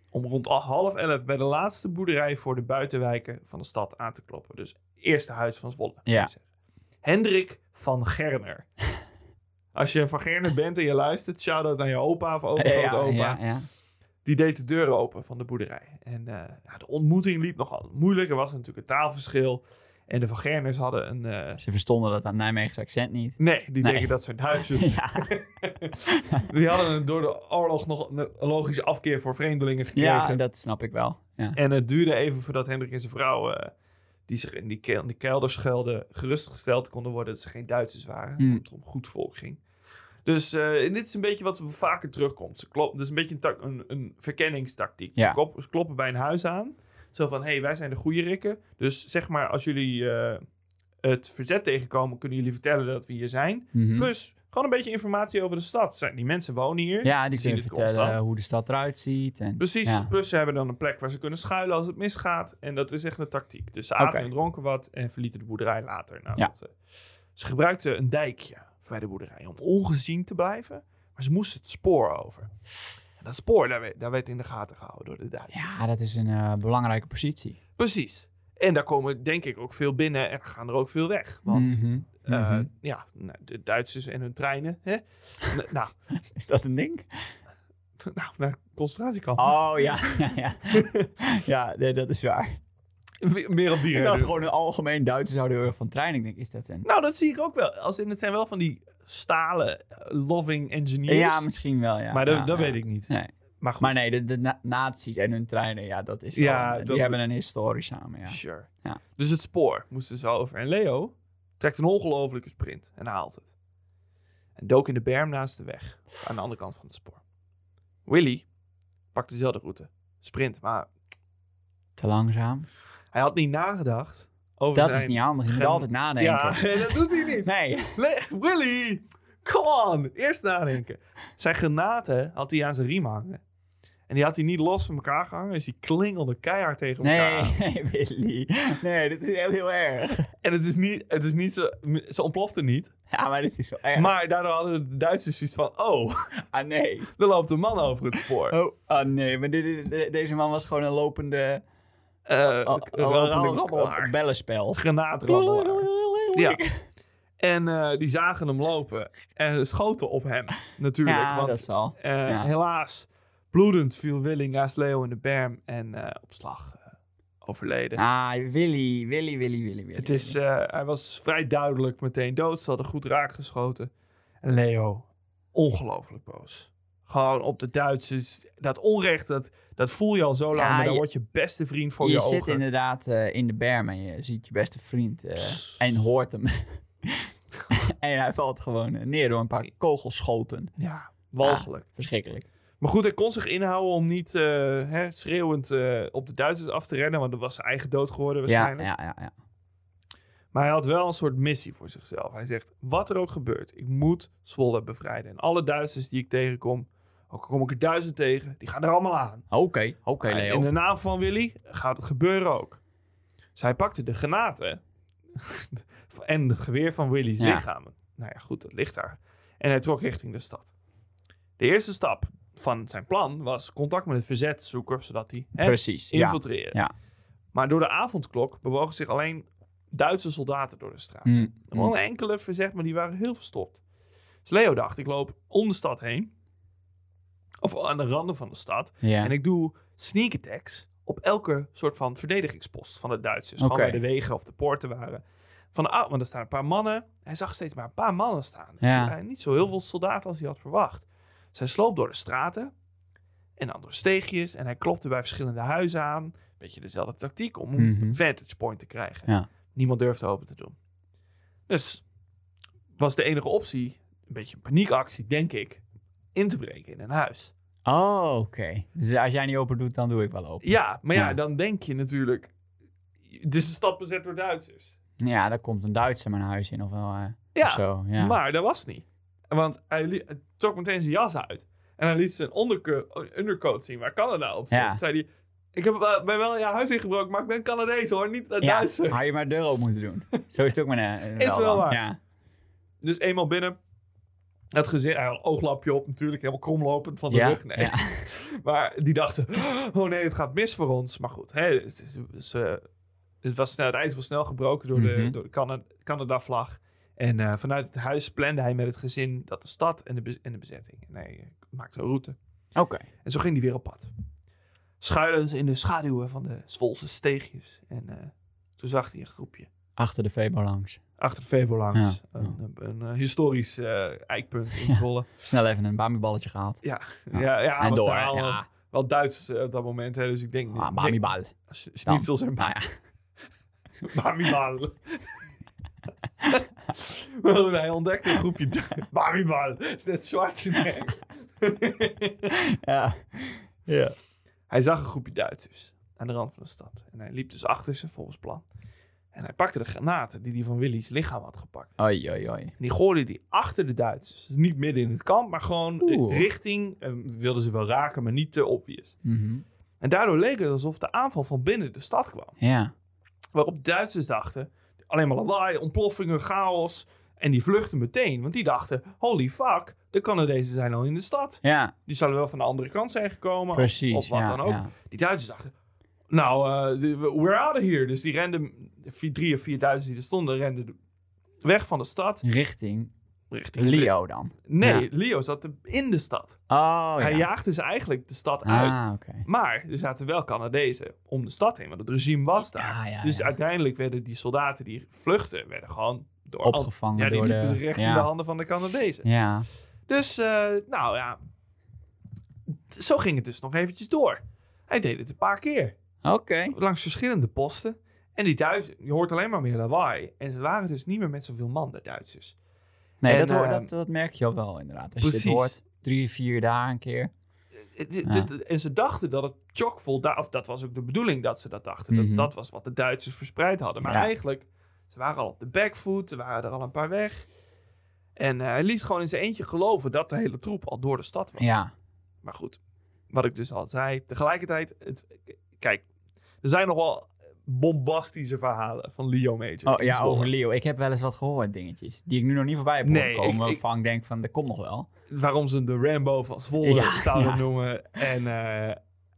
[SPEAKER 2] Om rond al half elf bij de laatste boerderij voor de buitenwijken van de stad aan te kloppen. Dus eerste huis van Zwolle. moet
[SPEAKER 1] Ja.
[SPEAKER 2] ik zeggen. Hendrik van
[SPEAKER 1] <laughs>
[SPEAKER 2] Gerner. Als je van Gerner bent en je luistert, shout-out naar je opa of overgrootopa.
[SPEAKER 1] ja, ja.
[SPEAKER 2] Die deed de deuren open van de boerderij. En eh, ja, de ontmoeting liep nogal moeilijk. Er was natuurlijk een taalverschil. En de van Gerners hadden een... eh,
[SPEAKER 1] Ze verstonden dat aan Nijmeegse accent niet.
[SPEAKER 2] Nee, die
[SPEAKER 1] Nee.
[SPEAKER 2] denken dat zijn
[SPEAKER 1] <laughs>
[SPEAKER 2] Duitsers.
[SPEAKER 1] Ja.
[SPEAKER 2] Die hadden een- door de oorlog nog een logische afkeer voor vreemdelingen gekregen.
[SPEAKER 1] Ja, dat snap ik wel. Ja.
[SPEAKER 2] En het duurde even voordat Hendrik en zijn vrouw, eh, die zich in die, ke- in die kelder schuilden, gerustgesteld konden worden dat ze geen Duitsers waren.
[SPEAKER 1] Hmm.
[SPEAKER 2] Dat het om goed volk ging. Dus eh, en dit is een beetje wat vaker terugkomt. Ze kloppen, dit is een beetje een, tak- een, een verkenningstactiek.
[SPEAKER 1] Ja.
[SPEAKER 2] Ze, klop- ze kloppen bij een huis aan. Zo van, hé, hey, wij zijn de goede rikken. Dus zeg maar, als jullie eh, het verzet tegenkomen, kunnen jullie vertellen dat we hier zijn.
[SPEAKER 1] Mhm.
[SPEAKER 2] Plus, gewoon een beetje informatie over de stad. Zijn- Die mensen wonen hier.
[SPEAKER 1] Ja, die
[SPEAKER 2] Zien
[SPEAKER 1] kunnen
[SPEAKER 2] het
[SPEAKER 1] vertellen
[SPEAKER 2] constant.
[SPEAKER 1] hoe de stad eruit ziet. En,
[SPEAKER 2] Precies,
[SPEAKER 1] Ja.
[SPEAKER 2] plus ze hebben dan een plek waar ze kunnen schuilen als het misgaat. En dat is echt een tactiek. Dus ze aten
[SPEAKER 1] Oké.
[SPEAKER 2] en dronken wat en verlieten de boerderij later. Nou,
[SPEAKER 1] Ja.
[SPEAKER 2] dat, eh, ze gebruikten een dijkje bij de boerderij om ongezien te blijven. Maar ze moesten het spoor over. En dat spoor, daar werd, daar werd in de gaten gehouden door de Duitsers.
[SPEAKER 1] Ja, dat is een eh, belangrijke positie.
[SPEAKER 2] Precies. En daar komen denk ik ook veel binnen en gaan er ook veel weg. Want
[SPEAKER 1] Mhm.
[SPEAKER 2] eh,
[SPEAKER 1] Mhm.
[SPEAKER 2] ja, nou, de Duitsers en hun treinen.
[SPEAKER 1] <laughs>
[SPEAKER 2] Hè? N- nou, <laughs>
[SPEAKER 1] Is dat een ding?
[SPEAKER 2] nou, naar de concentratiekamp.
[SPEAKER 1] Oh ja, <laughs> ja, ja. ja nee, dat is waar.
[SPEAKER 2] Me- Meer op die
[SPEAKER 1] <laughs> Ik
[SPEAKER 2] reden.
[SPEAKER 1] dacht gewoon een algemeen Duitsers houden heel erg van trein. Ik denk, is dat een...
[SPEAKER 2] Nou, dat zie ik ook wel. Als in, het zijn wel van die stalen eh, loving engineers.
[SPEAKER 1] Ja, misschien wel, ja.
[SPEAKER 2] maar dat,
[SPEAKER 1] Ja,
[SPEAKER 2] dat
[SPEAKER 1] ja.
[SPEAKER 2] weet ik niet.
[SPEAKER 1] Nee.
[SPEAKER 2] Maar goed.
[SPEAKER 1] Maar nee, de, de na- nazi's en hun treinen, ja, dat is
[SPEAKER 2] Ja,
[SPEAKER 1] gewoon, eh,
[SPEAKER 2] dat-
[SPEAKER 1] Die hebben een historie samen, ja.
[SPEAKER 2] Sure.
[SPEAKER 1] Ja.
[SPEAKER 2] Dus het spoor moesten ze over. En Leo trekt een ongelofelijke sprint en haalt het. En dook in de berm naast de weg. Aan de andere kant van het spoor. Willy pakt dezelfde route. Sprint, maar
[SPEAKER 1] Te langzaam.
[SPEAKER 2] hij had niet nagedacht over
[SPEAKER 1] Dat
[SPEAKER 2] zijn...
[SPEAKER 1] is niet handig. Je moet
[SPEAKER 2] gen-
[SPEAKER 1] altijd nadenken.
[SPEAKER 2] Ja, <laughs> en dat doet hij niet.
[SPEAKER 1] Nee.
[SPEAKER 2] Le- Willy, come on. Eerst nadenken. Zijn granaten had hij aan zijn riem hangen. En die had hij niet los van elkaar gehangen. Dus die klingelde keihard tegen elkaar.
[SPEAKER 1] <laughs> Nee, Willy. Nee, dit is echt heel erg. <laughs>
[SPEAKER 2] En het is niet, het is niet zo, ze ontplofte niet.
[SPEAKER 1] Ja, maar dit is wel erg.
[SPEAKER 2] Maar daardoor hadden de Duitsers zoiets van... Oh, <laughs>
[SPEAKER 1] ah, nee.
[SPEAKER 2] er loopt een man over het spoor.
[SPEAKER 1] Oh, ah, nee. Maar dit is, de- deze man was gewoon een lopende...
[SPEAKER 2] Eh,
[SPEAKER 1] Oh,
[SPEAKER 2] een lopende
[SPEAKER 1] oh,
[SPEAKER 2] rabbelaar.
[SPEAKER 1] bellenspel.
[SPEAKER 2] Granaatrabbelaar. Ja.
[SPEAKER 1] <laughs>
[SPEAKER 2] En eh, die zagen hem lopen. En schoten op hem, natuurlijk.
[SPEAKER 1] Ja,
[SPEAKER 2] want
[SPEAKER 1] dat zal.
[SPEAKER 2] Eh,
[SPEAKER 1] Ja.
[SPEAKER 2] Helaas, bloedend viel Willy naast Leo in de berm en eh, op slag eh, overleden.
[SPEAKER 1] Ah, Willy, Willy, Willy, Willy, Willy.
[SPEAKER 2] het is, eh, hij was vrij duidelijk meteen dood. Ze hadden goed raak geschoten. En Leo, ongelooflijk boos. Gewoon op de Duitsers. Dat onrecht, dat, dat voel je al zo lang.
[SPEAKER 1] Ja,
[SPEAKER 2] maar dan
[SPEAKER 1] je-
[SPEAKER 2] wordt je beste vriend voor
[SPEAKER 1] je
[SPEAKER 2] je,
[SPEAKER 1] zit
[SPEAKER 2] ogen.
[SPEAKER 1] inderdaad eh, in de berm en je ziet je beste vriend eh,
[SPEAKER 2] Psst.
[SPEAKER 1] en hoort hem. <laughs> en hij valt gewoon eh, neer door een paar kogelschoten.
[SPEAKER 2] Ja, walgelijk.
[SPEAKER 1] Verschrikkelijk.
[SPEAKER 2] Maar goed, hij kon zich inhouden om niet eh, hè, schreeuwend eh, op de Duitsers af te rennen. Want dat was zijn eigen dood
[SPEAKER 1] Ja,
[SPEAKER 2] geworden waarschijnlijk.
[SPEAKER 1] ja, ja, ja.
[SPEAKER 2] Maar hij had wel een soort missie voor zichzelf. Hij zegt, wat er ook gebeurt, ik moet Zwolle bevrijden. En alle Duitsers die ik tegenkom, ook al kom ik er duizend tegen, die gaan er allemaal aan.
[SPEAKER 1] Oké, oké
[SPEAKER 2] Ah, In
[SPEAKER 1] Leo.
[SPEAKER 2] de naam van Willy gaat het gebeuren ook. Dus hij pakte de granaten <laughs> en het geweer van Willy's
[SPEAKER 1] Ja.
[SPEAKER 2] lichaam. Nou ja, goed, dat ligt daar. En hij trok richting de stad. De eerste stap van zijn plan was contact met het verzet zoeken, zodat hij hè,
[SPEAKER 1] Precies, ja.
[SPEAKER 2] infiltreren.
[SPEAKER 1] Ja.
[SPEAKER 2] Maar door de avondklok bewogen zich alleen Duitse soldaten door de straat.
[SPEAKER 1] Mm,
[SPEAKER 2] Er was een enkele verzet, maar die waren heel verstopt. Dus Leo dacht, ik loop om de stad heen. Of aan de randen van de stad.
[SPEAKER 1] ja.
[SPEAKER 2] En ik doe sneak attacks op elke soort van verdedigingspost van de Duitsers.
[SPEAKER 1] Oké.
[SPEAKER 2] Gewoon waar de wegen of de poorten waren. Van, ah, want er staan een paar mannen. Hij zag steeds maar een paar mannen staan. Dus
[SPEAKER 1] Ja.
[SPEAKER 2] hij- niet zo heel veel soldaten als hij had verwacht. Dus hij sloop door de straten. En dan door steegjes. En hij klopte bij verschillende huizen aan. Beetje dezelfde tactiek om een
[SPEAKER 1] Mhm.
[SPEAKER 2] vantage point te krijgen.
[SPEAKER 1] Ja.
[SPEAKER 2] Niemand durfde open te doen. Dus was de enige optie, een beetje een paniekactie, denk ik, in te breken in een huis.
[SPEAKER 1] Oh, oké. Dus als jij niet open doet, dan doe ik wel open.
[SPEAKER 2] Ja, maar ja,
[SPEAKER 1] Ja.
[SPEAKER 2] dan denk je natuurlijk, dit is een stad bezet door Duitsers.
[SPEAKER 1] Ja, daar komt een Duitser mijn huis in of, wel, eh,
[SPEAKER 2] Ja,
[SPEAKER 1] of zo. Ja.
[SPEAKER 2] maar dat was niet. Want hij li- hij trok meteen zijn jas uit. En hij liet zijn onderco- undercoat zien waar Canada op zit.
[SPEAKER 1] Ja.
[SPEAKER 2] Zei hij, ik heb, wel- ben wel je huis ingebroken, maar ik ben Canadees hoor, niet eh,
[SPEAKER 1] ja,
[SPEAKER 2] Duitser.
[SPEAKER 1] had je maar de deur open moeten
[SPEAKER 2] <laughs>
[SPEAKER 1] doen. Zo is het ook maar. eh,
[SPEAKER 2] Is wel
[SPEAKER 1] dan.
[SPEAKER 2] waar.
[SPEAKER 1] Ja.
[SPEAKER 2] Dus eenmaal binnen, het gezin, hij had een ooglapje op natuurlijk, helemaal kromlopend van de
[SPEAKER 1] ja.
[SPEAKER 2] rug. Nee.
[SPEAKER 1] ja.
[SPEAKER 2] Maar die dachten, <gasps> oh nee, het gaat mis voor ons. Maar goed, hè, het, is- het is, eh, het was snel, het ijs was snel gebroken door de,
[SPEAKER 1] Mhm.
[SPEAKER 2] door de Cana- Canada-vlag. En eh, vanuit het huis plande hij met het gezin dat de stad en de, bez- en de bezetting. En hij eh, maakte een route.
[SPEAKER 1] Oké.
[SPEAKER 2] En zo ging hij weer op pad. Schuilend in de schaduwen van de Zwolse steegjes. En eh, toen zag hij een groepje.
[SPEAKER 1] Achter de Febo langs.
[SPEAKER 2] Achter de Febo langs.
[SPEAKER 1] Ja,
[SPEAKER 2] Een, een, een, eh, historisch eh, eikpunt in Zwolle.
[SPEAKER 1] Snel even een bamiballetje gehaald.
[SPEAKER 2] Ja, ja,
[SPEAKER 1] Ja.
[SPEAKER 2] ja,
[SPEAKER 1] en
[SPEAKER 2] want
[SPEAKER 1] door.
[SPEAKER 2] daar al-
[SPEAKER 1] Ja,
[SPEAKER 2] Wel Duits eh, op dat moment, hè, dus ik denk...
[SPEAKER 1] ah,
[SPEAKER 2] ik denk-
[SPEAKER 1] bamibal.
[SPEAKER 2] S- Schnitzels en
[SPEAKER 1] Nou ja.
[SPEAKER 2] <laughs> Bamibal. Wel, Hij ontdekte een groepje <laughs> Du- Bamibal. is net Schwarzenegger.
[SPEAKER 1] Ja. ja.
[SPEAKER 2] hij zag een groepje Duitsers aan de rand van de stad. En hij liep dus achter ze volgens plan. En hij pakte de granaten die hij van Willy's lichaam had gepakt.
[SPEAKER 1] Oei, oei, oei.
[SPEAKER 2] En die gooide die achter de Duitsers. Dus niet midden in het kamp, maar gewoon eh,
[SPEAKER 1] Oeh.
[SPEAKER 2] richting. En wilden ze wel raken, maar niet te obvious.
[SPEAKER 1] Mhm.
[SPEAKER 2] En daardoor leek het alsof de aanval van binnen de stad kwam.
[SPEAKER 1] Ja.
[SPEAKER 2] Waarop Duitsers dachten, alleen maar lawaai, ontploffingen, chaos. En die vluchten meteen, want die dachten, holy fuck, de Canadezen zijn al in de stad.
[SPEAKER 1] Ja,
[SPEAKER 2] Die zullen wel van de andere kant zijn gekomen. of-
[SPEAKER 1] precies.
[SPEAKER 2] Of wat
[SPEAKER 1] ja,
[SPEAKER 2] dan ook.
[SPEAKER 1] ja.
[SPEAKER 2] Die Duitsers dachten, nou, eh, de- we're out of here. Dus die renden, de vier- drie of vier Duitsers die er stonden, renden de- weg van de stad.
[SPEAKER 1] Richting
[SPEAKER 2] Richting
[SPEAKER 1] Leo dan.
[SPEAKER 2] Nee,
[SPEAKER 1] Ja.
[SPEAKER 2] Leo zat er in de stad.
[SPEAKER 1] Oh,
[SPEAKER 2] Hij
[SPEAKER 1] ja.
[SPEAKER 2] jaagde ze eigenlijk de stad uit.
[SPEAKER 1] Ah, oké.
[SPEAKER 2] Maar er zaten wel Canadezen om de stad heen, want het regime was daar.
[SPEAKER 1] Ah, Ja, ja,
[SPEAKER 2] dus
[SPEAKER 1] ja.
[SPEAKER 2] uiteindelijk werden die soldaten die vluchten, werden gewoon door
[SPEAKER 1] Opgevangen
[SPEAKER 2] Ja, die
[SPEAKER 1] door
[SPEAKER 2] liepen
[SPEAKER 1] de...
[SPEAKER 2] recht
[SPEAKER 1] ja.
[SPEAKER 2] in de handen van de Canadezen.
[SPEAKER 1] Ja.
[SPEAKER 2] Dus, eh, nou ja, zo ging het dus nog eventjes door. Hij deed het een paar keer,
[SPEAKER 1] Oké.
[SPEAKER 2] langs verschillende posten. En die Duitsers, je hoort alleen maar meer lawaai. En ze waren dus niet meer met zoveel man, de Duitsers.
[SPEAKER 1] Nee,
[SPEAKER 2] En,
[SPEAKER 1] dat, hoor,
[SPEAKER 2] eh,
[SPEAKER 1] dat, dat merk je al wel inderdaad. Als je
[SPEAKER 2] precies.
[SPEAKER 1] dit hoort, drie, vier daar een keer.
[SPEAKER 2] Het- het- het- En ze dachten dat het chockvol, da- of dat was ook de bedoeling dat ze dat dachten.
[SPEAKER 1] Mhm.
[SPEAKER 2] Dat, dat was wat de Duitsers verspreid hadden. Maar
[SPEAKER 1] Ja.
[SPEAKER 2] eigenlijk, ze waren al op de backfoot, er waren er al een paar weg. En eh, hij liet gewoon in zijn eentje geloven dat de hele troep al door de stad was.
[SPEAKER 1] Ja.
[SPEAKER 2] Maar goed, wat ik dus al zei. Tegelijkertijd, het- kijk, er zijn nog wel bombastische verhalen van Leo Major.
[SPEAKER 1] Oh,
[SPEAKER 2] in
[SPEAKER 1] ja,
[SPEAKER 2] Zwolle.
[SPEAKER 1] over Leo. Ik heb wel eens wat gehoord, dingetjes. Die ik nu nog niet voorbij heb
[SPEAKER 2] Nee,
[SPEAKER 1] horen
[SPEAKER 2] ik-
[SPEAKER 1] komen.
[SPEAKER 2] ik-
[SPEAKER 1] Waarvan ik denk van, dat komt nog wel.
[SPEAKER 2] Waarom ze hem de Rambo van Zwolle
[SPEAKER 1] Ja,
[SPEAKER 2] zouden
[SPEAKER 1] ja.
[SPEAKER 2] noemen. En eh,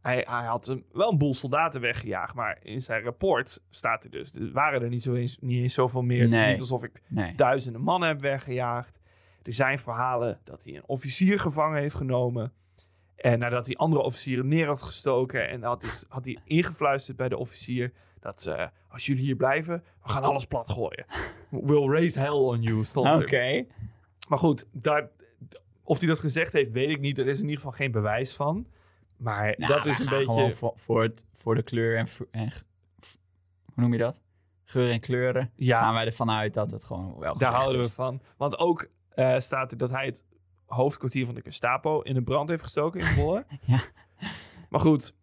[SPEAKER 2] hij, hij had hem wel een boel soldaten weggejaagd. Maar in zijn rapport staat er dus, er waren er niet, zo eens, niet eens zoveel meer. Het is
[SPEAKER 1] Nee.
[SPEAKER 2] niet alsof ik
[SPEAKER 1] Nee.
[SPEAKER 2] duizenden mannen heb weggejaagd. Er zijn verhalen dat hij een officier gevangen heeft genomen. En nadat hij andere officieren neer had gestoken. En had hij, had hij ingefluisterd bij de officier. Dat eh, als jullie hier blijven, we gaan alles plat gooien. We'll raise hell on you, stond
[SPEAKER 1] Oké.
[SPEAKER 2] er. Maar goed, daar, of hij dat gezegd heeft, weet ik niet. Er is in ieder geval geen bewijs van. Maar
[SPEAKER 1] Nou,
[SPEAKER 2] dat
[SPEAKER 1] wij
[SPEAKER 2] is een
[SPEAKER 1] gaan
[SPEAKER 2] beetje...
[SPEAKER 1] gewoon voor, voor, het, voor de kleur en, v- en g- v- Hoe noem je dat? Geur en kleuren. Gaan
[SPEAKER 2] ja,
[SPEAKER 1] wij ervan uit dat het gewoon wel
[SPEAKER 2] daar
[SPEAKER 1] gezegd
[SPEAKER 2] houden
[SPEAKER 1] is.
[SPEAKER 2] we van. Want ook eh, staat er dat hij het hoofdkwartier van de Gestapo in de brand heeft gestoken in Zwolle.
[SPEAKER 1] <laughs> Ja.
[SPEAKER 2] Maar goed,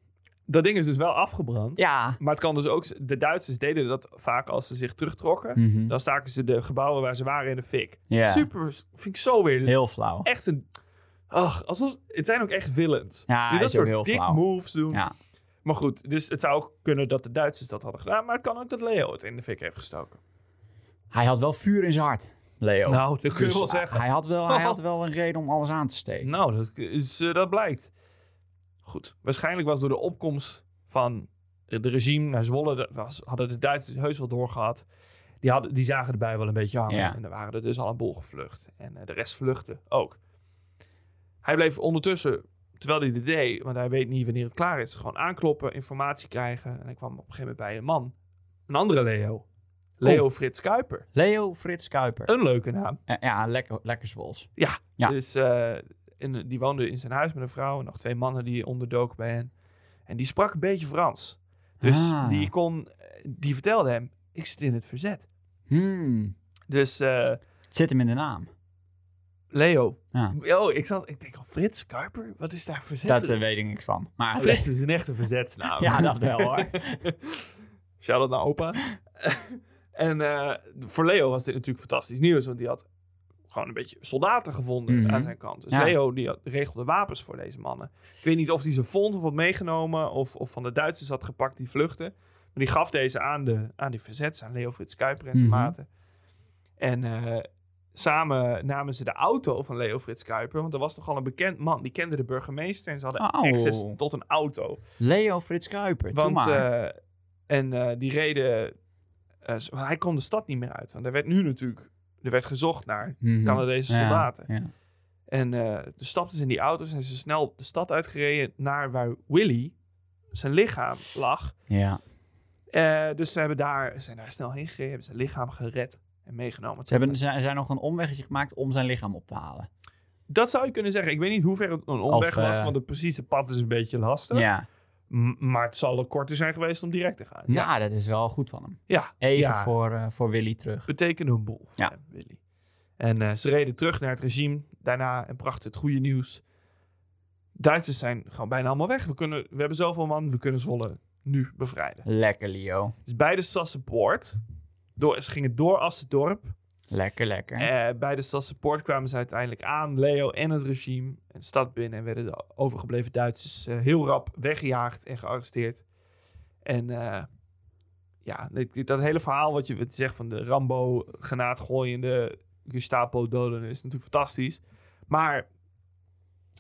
[SPEAKER 2] dat ding is dus wel afgebrand.
[SPEAKER 1] Ja.
[SPEAKER 2] Maar het kan dus ook... De Duitsers deden dat vaak als ze zich terugtrokken.
[SPEAKER 1] Mhm.
[SPEAKER 2] Dan staken ze de gebouwen waar ze waren in de fik.
[SPEAKER 1] Ja.
[SPEAKER 2] Super, vind ik zo weer
[SPEAKER 1] Heel flauw.
[SPEAKER 2] echt een. Ach, alsof, het zijn ook echt willend.
[SPEAKER 1] Ja,
[SPEAKER 2] Die dat
[SPEAKER 1] Ah, is ook
[SPEAKER 2] soort
[SPEAKER 1] heel
[SPEAKER 2] dik
[SPEAKER 1] flauw.
[SPEAKER 2] moves doen.
[SPEAKER 1] Ja.
[SPEAKER 2] Maar goed, dus het zou ook kunnen dat de Duitsers dat hadden gedaan. Maar het kan ook dat Leo het in de fik heeft gestoken.
[SPEAKER 1] Hij had wel vuur in zijn hart, Leo.
[SPEAKER 2] Nou, dat kun je
[SPEAKER 1] Dus
[SPEAKER 2] wel
[SPEAKER 1] hij-
[SPEAKER 2] zeggen.
[SPEAKER 1] Hij had wel, hij had wel een reden om alles aan te
[SPEAKER 2] <laughs>
[SPEAKER 1] steken.
[SPEAKER 2] Nou, dat, is, eh, dat blijkt. Goed, waarschijnlijk was door de opkomst van het regime naar Zwolle... dat was, hadden de Duitsers heus wel doorgehad. Die, hadden, die zagen erbij wel een beetje hangen.
[SPEAKER 1] Ja.
[SPEAKER 2] En er waren er dus al een boel gevlucht. En eh, de rest vluchtte ook. Hij bleef ondertussen, terwijl hij dit deed... want hij weet niet wanneer het klaar is... gewoon aankloppen, informatie krijgen. En hij kwam op een gegeven moment bij een man. Een andere Leo. Leo Frits Kuiper.
[SPEAKER 1] Leo Frits Kuiper.
[SPEAKER 2] Een leuke naam.
[SPEAKER 1] Eh, ja, lekker, lekker Zwols. Ja.
[SPEAKER 2] Dus eh, en, die woonde in zijn huis met een vrouw en nog twee mannen die onderdoken bij hen. En die sprak een beetje Frans. Dus
[SPEAKER 1] Ah.
[SPEAKER 2] die, kon, die vertelde hem, ik zit in het verzet.
[SPEAKER 1] Hmm.
[SPEAKER 2] Dus eh,
[SPEAKER 1] Het zit hem in de naam.
[SPEAKER 2] Leo.
[SPEAKER 1] Ja.
[SPEAKER 2] Oh, ik, zat, ik denk al, Frits Kuiper? Wat is daar verzet?
[SPEAKER 1] Dat eh, weet ik niks van. Maar
[SPEAKER 2] Frits is een echte verzetsnaam.
[SPEAKER 1] <laughs> Ja, dat wel hoor.
[SPEAKER 2] <laughs> Shout-out naar opa. <laughs> en eh, voor Leo was dit natuurlijk fantastisch nieuws, want die had gewoon een beetje soldaten gevonden
[SPEAKER 1] Mhm.
[SPEAKER 2] aan zijn kant. Dus
[SPEAKER 1] Ja.
[SPEAKER 2] Leo die had- regelde wapens voor deze mannen. Ik weet niet of hij ze vond of had meegenomen of, of van de Duitsers had gepakt die vluchten. Maar die gaf deze aan, de, aan die verzets, aan Leo Frits Kuiper en zijn
[SPEAKER 1] Mhm.
[SPEAKER 2] maten. En eh, samen namen ze de auto van Leo Frits Kuiper, want dat was toch al een bekend man. Die kende de burgemeester en ze hadden
[SPEAKER 1] Oh.
[SPEAKER 2] access tot een auto.
[SPEAKER 1] <laughs> Leo Frits Kuiper, doe
[SPEAKER 2] Want,
[SPEAKER 1] maar.
[SPEAKER 2] eh, en eh, die reden... eh, zo- hij kon de stad niet meer uit. Want er werd nu natuurlijk... Er werd gezocht naar
[SPEAKER 1] Mhm.
[SPEAKER 2] Canadese
[SPEAKER 1] Ja,
[SPEAKER 2] soldaten.
[SPEAKER 1] Ja.
[SPEAKER 2] En eh de stapten ze in die auto's en ze snel de stad uitgereden... naar waar Willy, zijn lichaam, lag.
[SPEAKER 1] Ja.
[SPEAKER 2] Eh, dus ze hebben daar, ze zijn daar snel heen gereden. Hebben zijn lichaam gered en meegenomen.
[SPEAKER 1] Ze hebben zijn, zijn nog een omwegje gemaakt om zijn lichaam op te halen.
[SPEAKER 2] Dat zou je kunnen zeggen. Ik weet niet hoe ver het een omweg
[SPEAKER 1] Of, eh,
[SPEAKER 2] was... want het precieze pad is een beetje lastig.
[SPEAKER 1] Ja.
[SPEAKER 2] M- maar het zal er korter zijn geweest om direct te gaan.
[SPEAKER 1] Nou, dat is wel goed van hem.
[SPEAKER 2] ja.
[SPEAKER 1] Even
[SPEAKER 2] Ja.
[SPEAKER 1] voor, eh, voor Willy terug.
[SPEAKER 2] betekende een boel voor
[SPEAKER 1] Ja.
[SPEAKER 2] hem, Willy. En eh, ze reden terug naar het regime daarna en brachten het goede nieuws. Duitsers zijn gewoon bijna allemaal weg. We, kunnen, we hebben zoveel man, we kunnen Zwolle nu bevrijden.
[SPEAKER 1] Lekker, Leo.
[SPEAKER 2] Dus bij de Sassenpoort, door, ze gingen door Assendorp.
[SPEAKER 1] Lekker, lekker.
[SPEAKER 2] Eh, bij de Sassenpoort kwamen ze uiteindelijk aan, Leo en het regime, en de stad binnen. En werden de overgebleven Duitsers eh, heel rap weggejaagd en gearresteerd. En eh, ja, dit- dat hele verhaal wat je wat je zegt van de Rambo, granaatgooiende Gestapo doden, is natuurlijk fantastisch. Maar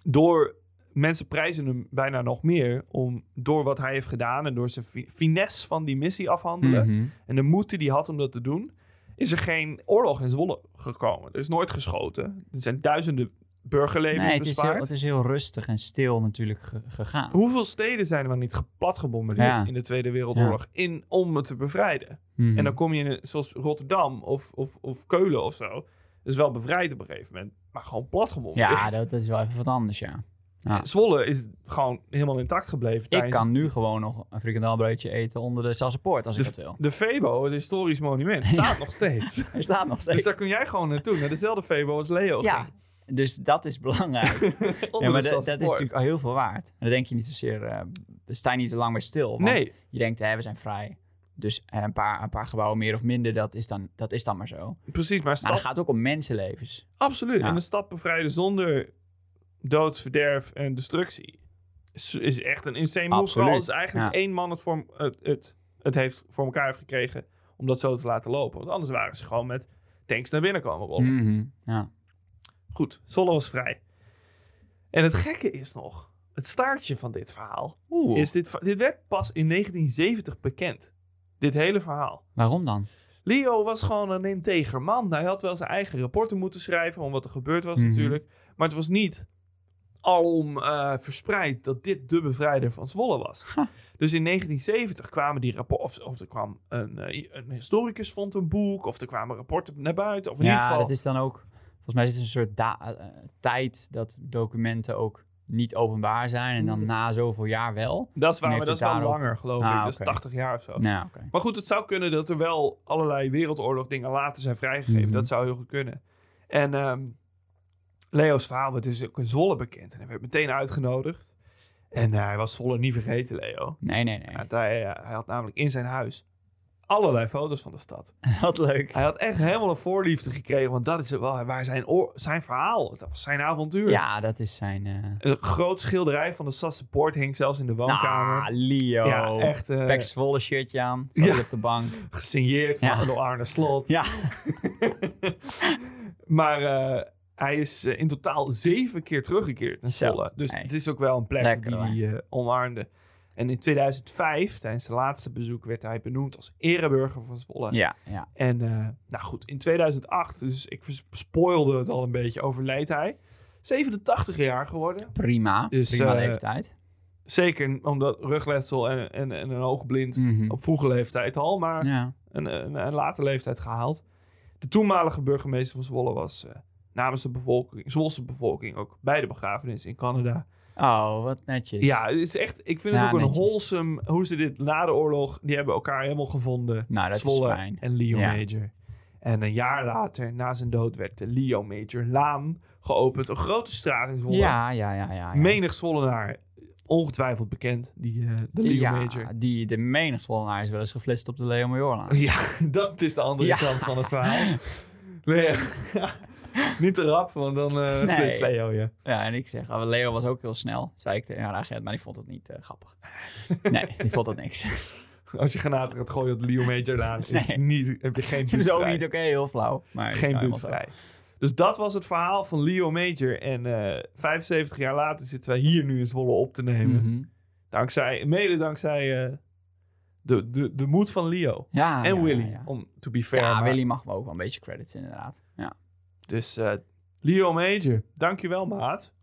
[SPEAKER 2] door mensen prijzen hem bijna nog meer om door wat hij heeft gedaan en door zijn fi- finesse van die missie afhandelen
[SPEAKER 1] Mhm.
[SPEAKER 2] en de moed die hij had om dat te doen, is er geen oorlog in Zwolle gekomen. Er is nooit geschoten. Er zijn duizenden burgerlevens
[SPEAKER 1] Nee, het is, heel,
[SPEAKER 2] bespaard.
[SPEAKER 1] het is heel rustig en stil natuurlijk ge- gegaan.
[SPEAKER 2] Hoeveel steden zijn er wel niet plat gebombardeerd
[SPEAKER 1] Ja.
[SPEAKER 2] in de Tweede Wereldoorlog in, om het te bevrijden?
[SPEAKER 1] Mhm.
[SPEAKER 2] En dan kom je in, een- zoals Rotterdam of, of, of Keulen of zo. Dat is wel bevrijd op een gegeven moment, maar gewoon plat gebombardeerd.
[SPEAKER 1] Ja, dat, dat is wel even wat anders, ja. ja.
[SPEAKER 2] Zwolle is gewoon helemaal intact gebleven.
[SPEAKER 1] Ik
[SPEAKER 2] tijdens
[SPEAKER 1] kan nu gewoon nog een frikandelbroodje eten onder de Sassenpoort als ik
[SPEAKER 2] Dus
[SPEAKER 1] dat wil.
[SPEAKER 2] De Febo, het historisch monument, staat nog
[SPEAKER 1] <laughs>
[SPEAKER 2] steeds.
[SPEAKER 1] Er staat
[SPEAKER 2] <laughs>
[SPEAKER 1] nog steeds.
[SPEAKER 2] Dus daar kun jij gewoon naartoe, naar dezelfde Febo als Leo.
[SPEAKER 1] Ja, dus dat is belangrijk.
[SPEAKER 2] ging, <laughs> onder
[SPEAKER 1] ja, maar
[SPEAKER 2] de
[SPEAKER 1] dat- dat is
[SPEAKER 2] Sassenpoort.
[SPEAKER 1] natuurlijk al heel veel waard. En dan denk je niet zozeer, eh sta je niet te lang bij stil. Want
[SPEAKER 2] Nee,
[SPEAKER 1] je denkt, hè, we zijn vrij. Dus eh, een, paar, een paar gebouwen meer of minder, dat is dan, dat is dan maar zo. Maar
[SPEAKER 2] Precies, maar, stad,
[SPEAKER 1] het gaat ook om mensenlevens.
[SPEAKER 2] absoluut.
[SPEAKER 1] Ja.
[SPEAKER 2] En een stad bevrijden zonder doodsverderf en destructie is, is echt een insane move.
[SPEAKER 1] Absoluut,
[SPEAKER 2] Vooral als eigenlijk
[SPEAKER 1] ja.
[SPEAKER 2] één man het, voor, het, het, het heeft voor elkaar heeft gekregen om dat zo te laten lopen. Want anders waren ze gewoon met tanks naar binnen komen rollen.
[SPEAKER 1] Mhm, ja.
[SPEAKER 2] Goed, Zwolle was vrij. En het gekke is nog, het staartje van dit verhaal,
[SPEAKER 1] Oeh,
[SPEAKER 2] is dit, va- dit werd pas in 1970 bekend. Dit hele verhaal.
[SPEAKER 1] waarom dan?
[SPEAKER 2] Leo was gewoon een integer man. Hij had wel zijn eigen rapporten moeten schrijven om wat er gebeurd was
[SPEAKER 1] Mhm.
[SPEAKER 2] natuurlijk. Maar het was niet alom eh, verspreid dat dit de bevrijder van Zwolle was.
[SPEAKER 1] Ha.
[SPEAKER 2] Dus in 1970 kwamen die rapporten, of, of er kwam een, eh, een historicus vond een boek, of er kwamen rapporten naar buiten, of in ieder
[SPEAKER 1] ja,
[SPEAKER 2] geval...
[SPEAKER 1] dat is dan ook. Volgens mij is het een soort da- eh, tijd dat documenten ook niet openbaar zijn. En dan
[SPEAKER 2] Hmm.
[SPEAKER 1] na zoveel jaar wel.
[SPEAKER 2] dat is waar,
[SPEAKER 1] Dan
[SPEAKER 2] maar dat
[SPEAKER 1] heeft
[SPEAKER 2] is wel
[SPEAKER 1] hij daarop-
[SPEAKER 2] langer geloof
[SPEAKER 1] Ah,
[SPEAKER 2] ik, dus
[SPEAKER 1] oké.
[SPEAKER 2] 80 jaar of zo.
[SPEAKER 1] Nou, oké.
[SPEAKER 2] Maar goed, het zou kunnen dat er wel allerlei wereldoorlog dingen later zijn vrijgegeven.
[SPEAKER 1] Mhm.
[SPEAKER 2] Dat zou heel goed kunnen. En ehm, Leo's verhaal werd dus ook in Zwolle bekend. En hij werd meteen uitgenodigd. En eh, hij was Zwolle niet vergeten, Leo.
[SPEAKER 1] Nee, nee, nee.
[SPEAKER 2] Want hij, eh, hij had namelijk in zijn huis allerlei foto's van de stad.
[SPEAKER 1] Wat leuk.
[SPEAKER 2] Hij had echt helemaal een voorliefde gekregen. Want dat is wel waar zijn, oor- zijn verhaal. Dat was zijn
[SPEAKER 1] <laughs>
[SPEAKER 2] avontuur.
[SPEAKER 1] Ja, dat is zijn. eh,
[SPEAKER 2] Een groot schilderij van de Sassenpoort hing zelfs in de woonkamer.
[SPEAKER 1] Ah, Leo.
[SPEAKER 2] ja, echt eh,
[SPEAKER 1] Pek Zwolle shirtje aan.
[SPEAKER 2] Ja.
[SPEAKER 1] Ja. op de bank.
[SPEAKER 2] gesigneerd van
[SPEAKER 1] Ja.
[SPEAKER 2] door Arne Slot.
[SPEAKER 1] Ja.
[SPEAKER 2] <laughs> Maar eh, hij is eh, in totaal zeven keer teruggekeerd naar
[SPEAKER 1] Zo,
[SPEAKER 2] Zwolle. Dus
[SPEAKER 1] hey.
[SPEAKER 2] het is ook wel een plek
[SPEAKER 1] Lekker,
[SPEAKER 2] die hij eh, omarmde. En in 2005, tijdens zijn laatste bezoek, werd hij benoemd als ereburger van Zwolle.
[SPEAKER 1] Ja, ja.
[SPEAKER 2] En eh, nou goed, in 2008, dus ik vers- spoilde het al een beetje, overleed hij. 87 jaar geworden.
[SPEAKER 1] Prima.
[SPEAKER 2] Dus,
[SPEAKER 1] Prima
[SPEAKER 2] eh,
[SPEAKER 1] leeftijd.
[SPEAKER 2] Zeker omdat rugletsel en, en, en een oogblind
[SPEAKER 1] Mhm.
[SPEAKER 2] op vroege leeftijd al. Maar
[SPEAKER 1] Ja.
[SPEAKER 2] een, een, een late leeftijd gehaald. De toenmalige burgemeester van Zwolle was eh, namens de bevolking, Zwolse bevolking ook bij de begrafenis in Canada.
[SPEAKER 1] Oh, wat netjes.
[SPEAKER 2] Ja, het is echt, ik vind
[SPEAKER 1] Ja,
[SPEAKER 2] het ook
[SPEAKER 1] netjes.
[SPEAKER 2] een wholesome hoe ze dit na de oorlog, die hebben elkaar helemaal gevonden.
[SPEAKER 1] Nou, dat
[SPEAKER 2] Zwolle
[SPEAKER 1] is fijn.
[SPEAKER 2] en Leo
[SPEAKER 1] Ja.
[SPEAKER 2] Major. En En een jaar later, na zijn dood, werd de Leo Major Laan geopend. Een grote straat in Zwolle.
[SPEAKER 1] Ja, ja, ja, ja. ja.
[SPEAKER 2] Menig Zwollenaar, ongetwijfeld bekend, die, eh, de Leo
[SPEAKER 1] ja,
[SPEAKER 2] Major.
[SPEAKER 1] die de menigvollenaar is wel eens geflitst op de Leo Majorlaan. <laughs>
[SPEAKER 2] Ja, <laughs> dat is de andere
[SPEAKER 1] Ja.
[SPEAKER 2] kant van het verhaal. Nee, <laughs> niet te rap, want dan eh
[SPEAKER 1] Nee.
[SPEAKER 2] flits Leo je.
[SPEAKER 1] Ja, en ik zeg, ah, Leo was ook heel snel, zei ik tegen haar agent, maar die vond het niet eh, <laughs> grappig. Nee, die vond dat <laughs> niks.
[SPEAKER 2] Als je granaten gaat gooien op de Leo Major Laan, is
[SPEAKER 1] Nee.
[SPEAKER 2] niet, heb je
[SPEAKER 1] <laughs>
[SPEAKER 2] geen
[SPEAKER 1] Dat is ook
[SPEAKER 2] buurtvrij.
[SPEAKER 1] niet oké, heel flauw. Maar is
[SPEAKER 2] geen
[SPEAKER 1] nou
[SPEAKER 2] buurt
[SPEAKER 1] helemaal zo.
[SPEAKER 2] vrij. Dus dat was het verhaal van Leo Major. En eh, 75 jaar later zitten wij hier nu in Zwolle op te nemen.
[SPEAKER 1] Mhm.
[SPEAKER 2] Dankzij, mede dankzij eh, de, de, de moed van Leo.
[SPEAKER 1] Ja,
[SPEAKER 2] en
[SPEAKER 1] Ah, ja,
[SPEAKER 2] Willy,
[SPEAKER 1] Ja,
[SPEAKER 2] om to be fair.
[SPEAKER 1] ja
[SPEAKER 2] maar-
[SPEAKER 1] Willy mag me ook wel een beetje credits inderdaad. Ja.
[SPEAKER 2] Dus eh, Leo Major, dankjewel maat.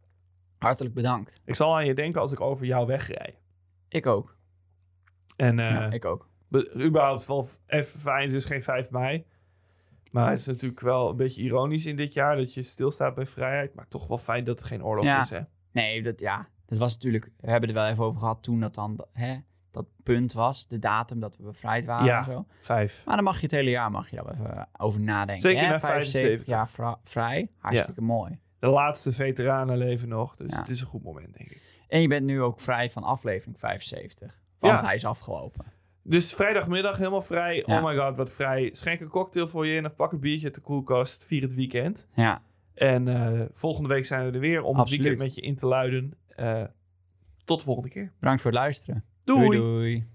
[SPEAKER 1] Hartelijk bedankt.
[SPEAKER 2] Ik zal aan je denken als ik over jou wegrij.
[SPEAKER 1] Ik ook.
[SPEAKER 2] En eh,
[SPEAKER 1] ja, ik ook.
[SPEAKER 2] be- überhaupt wel f- even fijn, het is geen 5 mei. Maar het is natuurlijk wel een beetje ironisch in dit jaar dat je stilstaat bij vrijheid. Maar toch wel fijn dat het geen oorlog
[SPEAKER 1] Ja.
[SPEAKER 2] is, hè?
[SPEAKER 1] Nee, dat, ja, dat was natuurlijk... We hebben het wel even over gehad toen dat dan hè, dat punt was. De datum dat we bevrijd waren
[SPEAKER 2] Ja.
[SPEAKER 1] en zo.
[SPEAKER 2] Vijf.
[SPEAKER 1] Maar dan mag je het hele jaar mag je daar wel even eh, over nadenken.
[SPEAKER 2] Zeker
[SPEAKER 1] hè?
[SPEAKER 2] na 75
[SPEAKER 1] jaar vra- vrij. Hartstikke mooi.
[SPEAKER 2] De laatste veteranen leven nog, dus
[SPEAKER 1] Ja.
[SPEAKER 2] het is een goed moment, denk ik.
[SPEAKER 1] En je bent nu ook vrij van aflevering 75. Want
[SPEAKER 2] Ja.
[SPEAKER 1] hij is afgelopen.
[SPEAKER 2] Dus vrijdagmiddag helemaal vrij.
[SPEAKER 1] Ja.
[SPEAKER 2] Oh my god, wat vrij. Schenk een cocktail voor je in of pak een biertje uit de koelkast. Vier het weekend.
[SPEAKER 1] Ja,
[SPEAKER 2] En eh, volgende week zijn we er weer om
[SPEAKER 1] Absoluut.
[SPEAKER 2] het weekend met je in te luiden. Eh, tot de volgende keer.
[SPEAKER 1] bedankt voor het luisteren.
[SPEAKER 2] Doei!
[SPEAKER 1] doei.